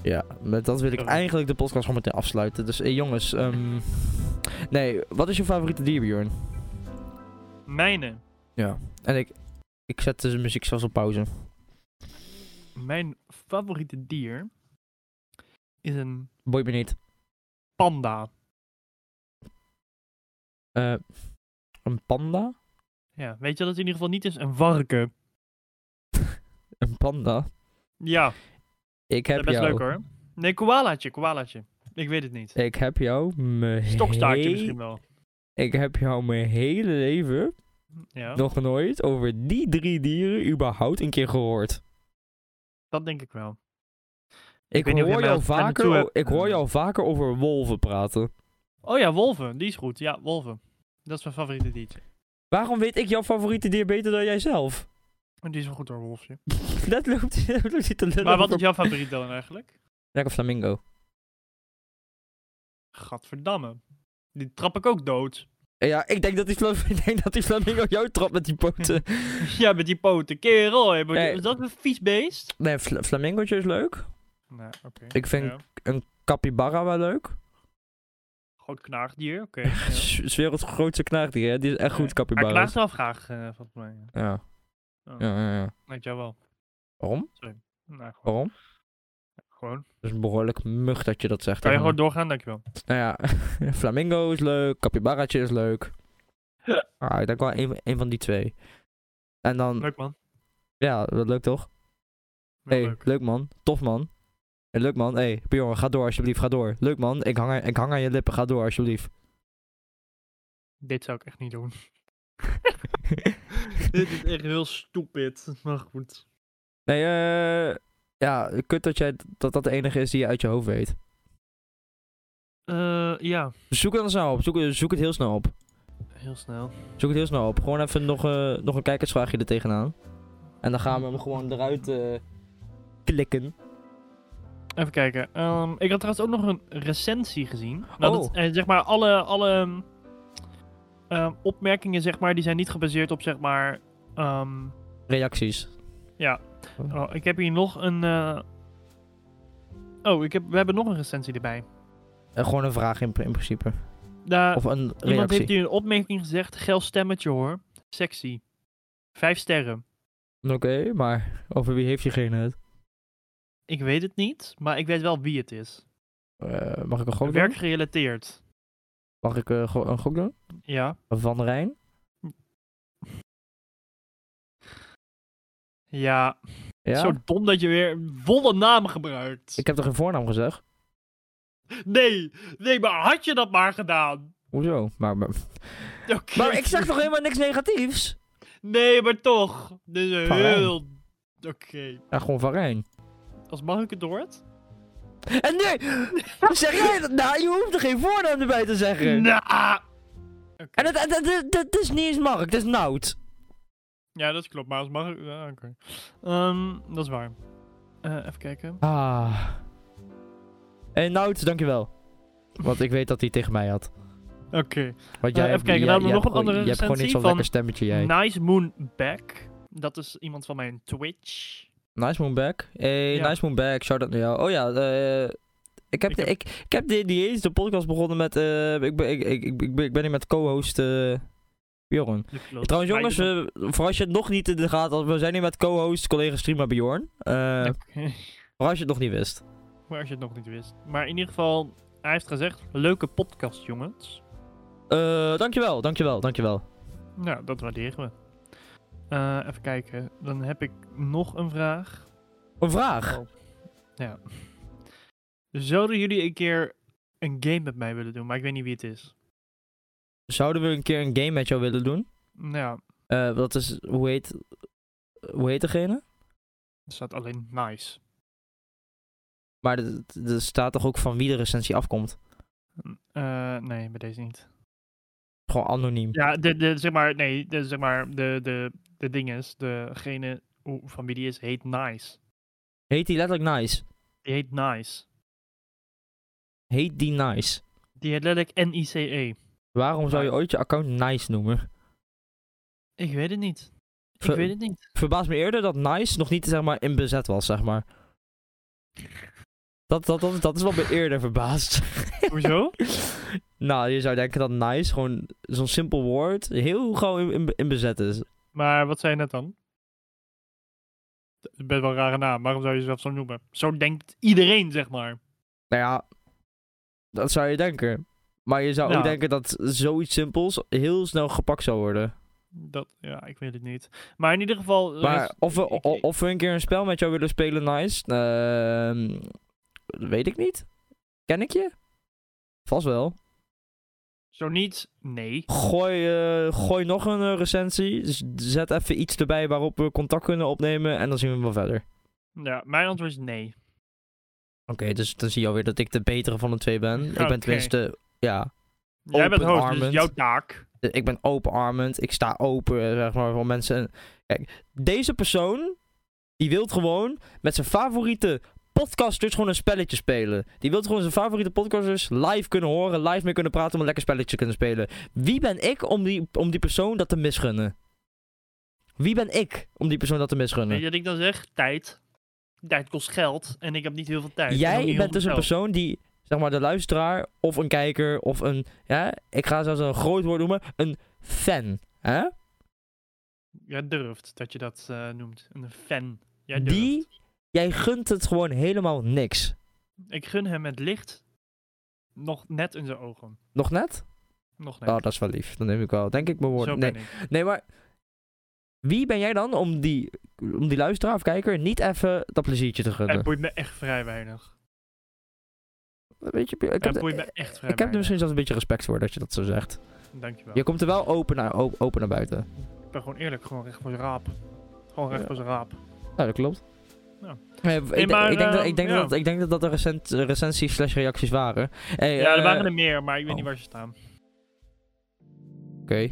Speaker 1: Ja, met dat wil ik
Speaker 2: Oké.
Speaker 1: eigenlijk de podcast gewoon meteen afsluiten. Dus eh, jongens, ehm, nee, wat is je favoriete dier, Bjorn?
Speaker 2: Mijne.
Speaker 1: Ja. En ik, ik zet dus de muziek zelfs op pauze.
Speaker 2: Mijn favoriete dier is een
Speaker 1: Boeit me niet.
Speaker 2: panda.
Speaker 1: Eh, een panda?
Speaker 2: Ja, weet je dat het in ieder geval niet is? Een varken.
Speaker 1: Een panda?
Speaker 2: Ja,
Speaker 1: Ik
Speaker 2: dat
Speaker 1: heb
Speaker 2: is
Speaker 1: jou.
Speaker 2: best
Speaker 1: Eh,
Speaker 2: leuk hoor. Nee, koalaatje, koalaatje. Ik weet het niet.
Speaker 1: Ik heb jou mijn
Speaker 2: Stokstaartje
Speaker 1: he-
Speaker 2: misschien wel.
Speaker 1: Ik heb jou mijn hele leven
Speaker 2: Ja,
Speaker 1: nog nooit over die drie dieren überhaupt een keer gehoord.
Speaker 2: dat denk ik wel.
Speaker 1: Ik,
Speaker 2: weet niet of jij
Speaker 1: hoor,
Speaker 2: mij
Speaker 1: jou
Speaker 2: daar naartoe
Speaker 1: vaker,
Speaker 2: hebt-
Speaker 1: ik hoor jou vaker over wolven praten.
Speaker 2: Oh ja, wolven. Die is goed. Ja, wolven. Dat is mijn favoriete diertje.
Speaker 1: Waarom weet ik jouw favoriete dier beter dan jijzelf? *laughs*
Speaker 2: En die is wel goed hoor, wolfje.
Speaker 1: Dat loopt, *laughs* dat loopt niet te lullen
Speaker 2: Maar wat
Speaker 1: over-
Speaker 2: is jouw favoriet dan eigenlijk?
Speaker 1: Ja, een flamingo.
Speaker 2: Gadverdamme. Die trap ik ook dood. *laughs*
Speaker 1: Ja, ik denk dat die, flam- *laughs* ik denk dat die flamingo jou trapt met die
Speaker 2: *laughs*
Speaker 1: poten.
Speaker 2: Ja, met die poten. Kerel, hè, maar die-
Speaker 1: Nee.
Speaker 2: is dat een vies beest?
Speaker 1: Nee, fl flamingootje is leuk.
Speaker 2: Nou, oké.
Speaker 1: Ik vind-
Speaker 2: Ja.
Speaker 1: Capybara wel leuk.
Speaker 2: Groot
Speaker 1: *laughs*
Speaker 2: knaagdier, oké.
Speaker 1: Het
Speaker 2: ja.
Speaker 1: is werelds grootste knaagdier, hè? Die is echt goed,
Speaker 2: Hij
Speaker 1: capybara.
Speaker 2: knaagt wel graag, eh, volgens mij. Ja.
Speaker 1: Ja.
Speaker 2: Oh,
Speaker 1: Ja, ja, ja.
Speaker 2: Lijkt jou wel.
Speaker 1: Waarom?
Speaker 2: Nou, gewoon.
Speaker 1: Waarom?
Speaker 2: gewoon.
Speaker 1: Dat is een behoorlijk mug dat je dat zegt.
Speaker 2: Kan je
Speaker 1: hè,
Speaker 2: gewoon doorgaan, dankjewel.
Speaker 1: Nou ja, *laughs* Flamingo is leuk, Capybaraatje is leuk. Ah, ik denk wel een, een van die twee. En dan,
Speaker 2: Leuk man.
Speaker 1: ja, wat leuk toch?
Speaker 2: Heel
Speaker 1: hey,
Speaker 2: leuk.
Speaker 1: man. Tof man. Hey, leuk man. hey, Bjorn, ga door alsjeblieft, ga door. Leuk man, ik hang, aan- ik hang aan je lippen, ga door
Speaker 2: *laughs*
Speaker 1: alsjeblieft.
Speaker 2: Dit zou ik echt niet doen. *laughs* Dit is echt heel stupid. *laughs* Maar goed.
Speaker 1: nee, eh... ja, kut dat, jij, dat dat de enige is die je uit je hoofd weet.
Speaker 2: Eh, ja,
Speaker 1: Zoek het dan snel op, zoek, zoek het heel snel op.
Speaker 2: heel snel.
Speaker 1: Zoek het heel snel op. Gewoon even nog, eh, nog een kijkersvraagje er tegenaan. En dan gaan we hem gewoon eruit eh, klikken.
Speaker 2: Even kijken. Ehm, ik had trouwens ook nog een recensie gezien. Nou, dat,
Speaker 1: Oh.
Speaker 2: eh, zeg maar, alle, alle ehm, ehm, opmerkingen, zeg maar, die zijn niet gebaseerd op, zeg maar... ehm,
Speaker 1: Reacties.
Speaker 2: oh, ik heb hier nog een... eh, Oh, ik heb, we hebben nog een recensie erbij.
Speaker 1: Eh, gewoon een vraag in, in principe.
Speaker 2: Daar
Speaker 1: of een
Speaker 2: iemand
Speaker 1: reactie.
Speaker 2: heeft hier een opmerking gezegd. Geil stemmetje hoor. Sexy. Vijf sterren.
Speaker 1: Oké, maar over wie heeft diegene het?
Speaker 2: Ik weet het niet, maar ik weet wel wie het is.
Speaker 1: Eh, mag ik een gok doen?
Speaker 2: Werkgerelateerd.
Speaker 1: Mag ik eh, go- een gok doen?
Speaker 2: Ja.
Speaker 1: Van Rijn?
Speaker 2: Ja.
Speaker 1: Ja?
Speaker 2: Zo dom dat je weer volle namen gebruikt.
Speaker 1: Ik heb toch geen voornaam gezegd?
Speaker 2: Nee, nee, maar had je dat maar gedaan? *laughs*
Speaker 1: Hoezo? Maar, maar,
Speaker 2: Oké.
Speaker 1: maar ik zeg toch helemaal niks negatiefs?
Speaker 2: Nee, maar toch. Dit is
Speaker 1: Van
Speaker 2: heel... Oké.
Speaker 1: Ja, gewoon Van Rijn.
Speaker 2: Als mag ik het door het?
Speaker 1: En nee! *laughs* zeg jij dat? Nou, je hoeft er geen voornaam erbij te zeggen.
Speaker 2: Nah. Nou! Oké.
Speaker 1: En dat, dat, dat, dat is niet eens Mark, dat is Nout.
Speaker 2: Ja, dat klopt, maar als mag ik... Ja, oké. Ehm, dat is waar. Eh, even kijken.
Speaker 1: Ah. Hey, Nout, dankjewel. Want ik weet dat hij tegen mij had.
Speaker 2: Oké.
Speaker 1: Want
Speaker 2: Eh,
Speaker 1: jij,
Speaker 2: even
Speaker 1: hebt-
Speaker 2: kijken,
Speaker 1: jij-
Speaker 2: dan hebben we
Speaker 1: jij
Speaker 2: nog
Speaker 1: hebt
Speaker 2: een
Speaker 1: gewoon-
Speaker 2: andere
Speaker 1: Je hebt gewoon niet zo'n
Speaker 2: recensie
Speaker 1: lekker stemmetje, jij.
Speaker 2: Nice Moon Back. Dat is iemand van mijn Twitch.
Speaker 1: Nice Moonback. Hey,
Speaker 2: Ja.
Speaker 1: Nice Moonback, shout out naar jou. Oh ja, eh, ik heb,
Speaker 2: Ik
Speaker 1: de-
Speaker 2: heb-
Speaker 1: ik, ik heb de, die eens de podcast begonnen met. eh, ik, ben, ik, ik, ik, ik ben- ik ben hier met co-host eh Bjorn. Trouwens, jongens,
Speaker 2: Oké.
Speaker 1: eh, voor als je het nog niet in de gaten had, we zijn hier met co-host, collega streamer Bjorn. Eh, Voor als je het nog niet wist.
Speaker 2: *laughs* Maar als je het nog niet wist. Maar in ieder geval, hij heeft gezegd: leuke podcast, jongens.
Speaker 1: Eh, dankjewel, dankjewel, dankjewel.
Speaker 2: Nou, dat waarderen we. Eh, even kijken. Dan heb ik nog een vraag. Oh.
Speaker 1: Een vraag.
Speaker 2: Ja. Zouden jullie een keer een game met mij willen doen? Maar ik weet niet wie het is.
Speaker 1: Zouden we een keer een game met jou willen doen?
Speaker 2: Nou, ja,
Speaker 1: Eh, dat is, hoe heet, hoe heet degene?
Speaker 2: er staat alleen nice.
Speaker 1: Maar er er staat toch ook van wie de recensie afkomt?
Speaker 2: Eh, nee, bij deze niet.
Speaker 1: Gewoon anoniem.
Speaker 2: Ja, de, de, zeg maar, nee, de, zeg maar, de, de, de ding is, degene hoe- van wie die is, heet Nice.
Speaker 1: Heet die letterlijk Nice?
Speaker 2: Die heet Nice.
Speaker 1: Heet die Nice?
Speaker 2: Die heet letterlijk N-I-C-E.
Speaker 1: Waarom zou je ooit je account Nice noemen?
Speaker 2: Ik weet het niet. Ik
Speaker 1: Ver-
Speaker 2: weet het niet.
Speaker 1: Verbaas me eerder dat Nice nog niet zeg maar, in bezet was, zeg maar. Dat, dat, dat, dat is wat me eerder verbaasd.
Speaker 2: Hoezo?
Speaker 1: *laughs* nou, je zou denken dat Nice gewoon zo'n simpel woord heel gauw in, in, in bezet is.
Speaker 2: maar wat zei je net dan? Het is Best wel een rare naam. Waarom zou je jezelf zo noemen? Zo denkt iedereen, zeg maar.
Speaker 1: Nou ja, dat zou je denken. Maar je zou
Speaker 2: Ja.
Speaker 1: ook denken dat zoiets simpels heel snel gepakt zou worden.
Speaker 2: Dat, ja, ik weet het niet. Maar in ieder geval... er
Speaker 1: Maar
Speaker 2: is-
Speaker 1: of we,
Speaker 2: ik-
Speaker 1: o- of we een keer een spel met jou willen spelen, nice. Ehm, weet ik niet. Ken ik je? Vast wel.
Speaker 2: Zo niet, nee.
Speaker 1: Gooi, eh, gooi nog een eh, recensie. Z- Zet even iets erbij waarop we contact kunnen opnemen. En dan zien we wel verder.
Speaker 2: Ja, mijn antwoord is nee.
Speaker 1: Oké, dus dan zie je alweer dat ik de betere van de twee ben. Ik
Speaker 2: Oké.
Speaker 1: ben tenminste, ja.
Speaker 2: Jij bent host, dus
Speaker 1: Openarmend.
Speaker 2: jouw taak.
Speaker 1: Eh, Ik ben openarmend. Ik sta open, eh, zeg maar, voor mensen. Kijk, deze persoon, die wil gewoon met zijn favoriete podcasters gewoon een spelletje spelen. Die wil gewoon zijn favoriete podcasters live kunnen horen, live mee kunnen praten om een lekker spelletje te kunnen spelen. Wie ben ik om die, om die persoon dat te misgunnen? Wie ben ik om die persoon dat te misgunnen?
Speaker 2: Weet je wat ik dan zeg? Tijd. Tijd kost geld en ik heb niet heel veel tijd. En ook niet
Speaker 1: Jij
Speaker 2: heel
Speaker 1: bent dus
Speaker 2: veel
Speaker 1: een
Speaker 2: geld.
Speaker 1: persoon die, zeg maar, de luisteraar of een kijker of een, ja, ik ga zelfs een groot woord noemen, een fan. Hè?
Speaker 2: Jij durft dat je dat eh, noemt. Een fan. Jij durft.
Speaker 1: Die, jij gunt het gewoon helemaal niks.
Speaker 2: Ik gun hem het licht nog net in zijn ogen.
Speaker 1: Nog net?
Speaker 2: Nog net.
Speaker 1: Oh, dat is wel lief. Dan neem ik wel, denk ik, mijn
Speaker 2: Zo
Speaker 1: woorden. Nee,
Speaker 2: ben ik.
Speaker 1: nee, maar wie ben jij dan om die, om die luisteraar of kijker niet even dat pleziertje te gunnen?
Speaker 2: Het boeit me echt vrij weinig.
Speaker 1: Weet je, ik heb,
Speaker 2: Het boeit me
Speaker 1: ik
Speaker 2: echt
Speaker 1: heb
Speaker 2: vrij
Speaker 1: er
Speaker 2: weinig.
Speaker 1: misschien zelfs een beetje respect voor dat je dat zo zegt.
Speaker 2: Dankjewel.
Speaker 1: Je komt er wel open naar, op- open naar buiten.
Speaker 2: Ik ben gewoon eerlijk, gewoon recht voor zijn raap. Gewoon recht
Speaker 1: Ja.
Speaker 2: voor zijn raap.
Speaker 1: Ja, dat klopt.
Speaker 2: Ja.
Speaker 1: Nee, ik, denk-
Speaker 2: maar,
Speaker 1: ik denk dat,
Speaker 2: ehm,
Speaker 1: ik denk
Speaker 2: ja.
Speaker 1: dat, ik denk dat dat er recent, recensies slash reacties waren. Hey,
Speaker 2: ja, er
Speaker 1: eh,
Speaker 2: waren er meer, maar ik weet
Speaker 1: oh.
Speaker 2: niet waar ze staan.
Speaker 1: Oké,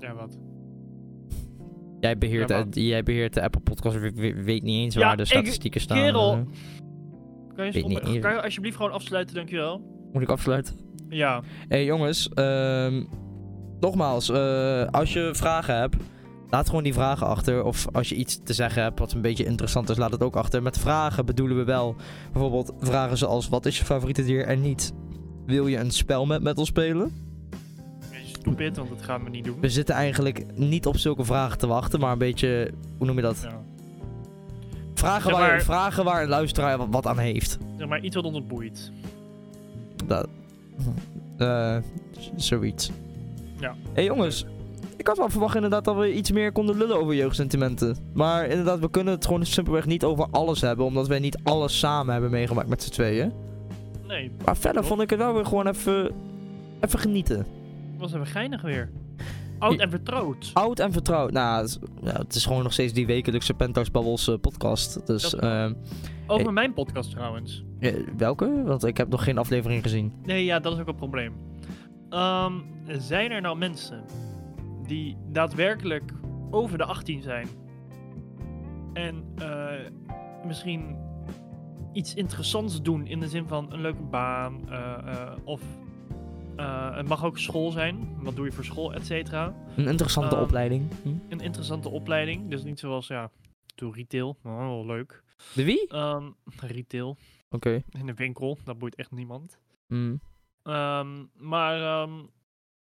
Speaker 2: Ja, wat?
Speaker 1: jij, beheert
Speaker 2: Ja,
Speaker 1: de- jij beheert de Apple Podcast, we- we- weet niet eens
Speaker 2: Ja,
Speaker 1: waar de
Speaker 2: ik-
Speaker 1: statistieken staan.
Speaker 2: kerel.
Speaker 1: Eh,
Speaker 2: Kan je,
Speaker 1: Weet niet,
Speaker 2: stoppen-
Speaker 1: even.
Speaker 2: kan je alsjeblieft gewoon afsluiten, dankjewel?
Speaker 1: moet ik afsluiten?
Speaker 2: Ja.
Speaker 1: Hé hey, jongens, ehm, nogmaals, eh, als je vragen hebt, laat gewoon die vragen achter. Of als je iets te zeggen hebt wat een beetje interessant is, laat het ook achter. Met vragen bedoelen we wel bijvoorbeeld vragen zoals: wat is je favoriete dier en niet? Wil je een spel met, met ons spelen?
Speaker 2: Beetje stupid, want dat gaan we niet doen.
Speaker 1: We zitten eigenlijk niet op zulke vragen te wachten, maar een beetje, hoe noem je dat?
Speaker 2: Ja.
Speaker 1: Vragen,
Speaker 2: Zeg
Speaker 1: waar,
Speaker 2: maar-
Speaker 1: vragen waar een luisteraar wat, wat aan heeft.
Speaker 2: Zeg maar iets wat ons boeit.
Speaker 1: Dat, eh, z- zoiets.
Speaker 2: Mhm. Ja.
Speaker 1: Hé hey jongens, ik had wel verwacht inderdaad dat we iets meer konden lullen over jeugdsentimenten. Maar inderdaad, we kunnen het gewoon simpelweg niet over alles hebben, omdat wij niet alles samen hebben meegemaakt met z'n tweeën.
Speaker 2: Nee, het
Speaker 1: Maar verder vond ik het wel weer gewoon even, even genieten.
Speaker 2: was even geinig weer. Oud en vertrouwd.
Speaker 1: Oud en vertrouwd. Nou, het, ja, het is gewoon nog steeds die wekelijkse Penthouse Bubbles eh, podcast. Dus
Speaker 2: Dat-
Speaker 1: ehm,
Speaker 2: Over mijn podcast trouwens.
Speaker 1: eh, welke? Want ik heb nog geen aflevering gezien.
Speaker 2: Nee, ja, dat is ook een probleem. Ehm, zijn er nou mensen die daadwerkelijk over de 18 zijn en eh, misschien iets interessants doen in de zin van een leuke baan eh, eh, of eh, het mag ook school zijn, wat doe je voor school, et cetera.
Speaker 1: Een interessante
Speaker 2: Ehm,
Speaker 1: opleiding. Hm?
Speaker 2: Een interessante opleiding, dus niet zoals ja, doe retail, oh, wel leuk.
Speaker 1: De wie? Oké.
Speaker 2: Ehm, *laughs* retail in een winkel, dat boeit echt niemand.
Speaker 1: Hm.
Speaker 2: Ehm, maar ehm,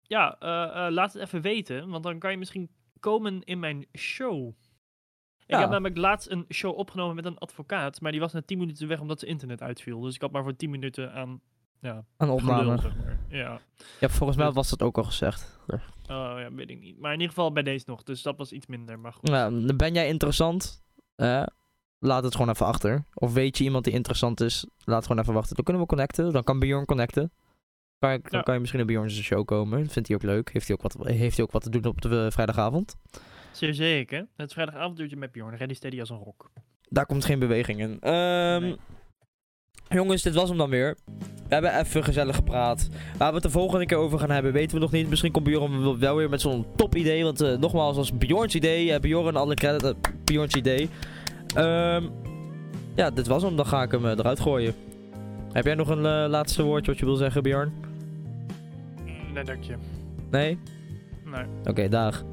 Speaker 2: ja, eh, eh, laat het even weten, want dan kan je misschien komen in mijn show.
Speaker 1: Ja.
Speaker 2: Ik heb namelijk laatst een show opgenomen met een advocaat, maar die was na 10 minuten weg omdat zijn internet uitviel. Dus ik had maar voor 10 minuten aan
Speaker 1: Een opname.
Speaker 2: gelul, zeg maar. Ja.
Speaker 1: Ja, volgens mij was dat ook al gezegd.
Speaker 2: Oh, ja, weet ik niet. Maar in ieder geval bij deze nog, dus dat was iets minder. Maar goed,
Speaker 1: Nou, ben jij interessant? Eh, laat het gewoon even achter. Of weet je iemand die interessant is? Laat gewoon even wachten. Dan kunnen we connecten. Dan kan Bjorn connecten. Kan, je- dan
Speaker 2: Ja.
Speaker 1: kan je misschien op Bjorn's show komen. Dat vindt hij ook leuk. Heeft hij ook wat, heeft hij ook wat te doen op de eh, vrijdagavond?
Speaker 2: zeer zeker. Het vrijdagavonduurtje met Bjorn, ready steady als een rok.
Speaker 1: Daar komt geen beweging in. Ehm,
Speaker 2: Nee.
Speaker 1: Jongens, dit was hem dan weer. Eh, hebben even gezellig gepraat. Waar we het de volgende keer over gaan hebben, weten we nog niet. Misschien komt Bjorn wel weer met zo'n top idee. Want eh, nogmaals, als Bjorns idee. eh, Bjorn, alle credit. eh, Bjorns idee. Ehm, ja, dit was hem. Dan ga ik hem eh, eruit gooien. Heb jij nog een eh, laatste woordje wat je wil zeggen, Bjorn?
Speaker 2: Nee, dank je.
Speaker 1: Nee?
Speaker 2: Nee.
Speaker 1: Oké, dag.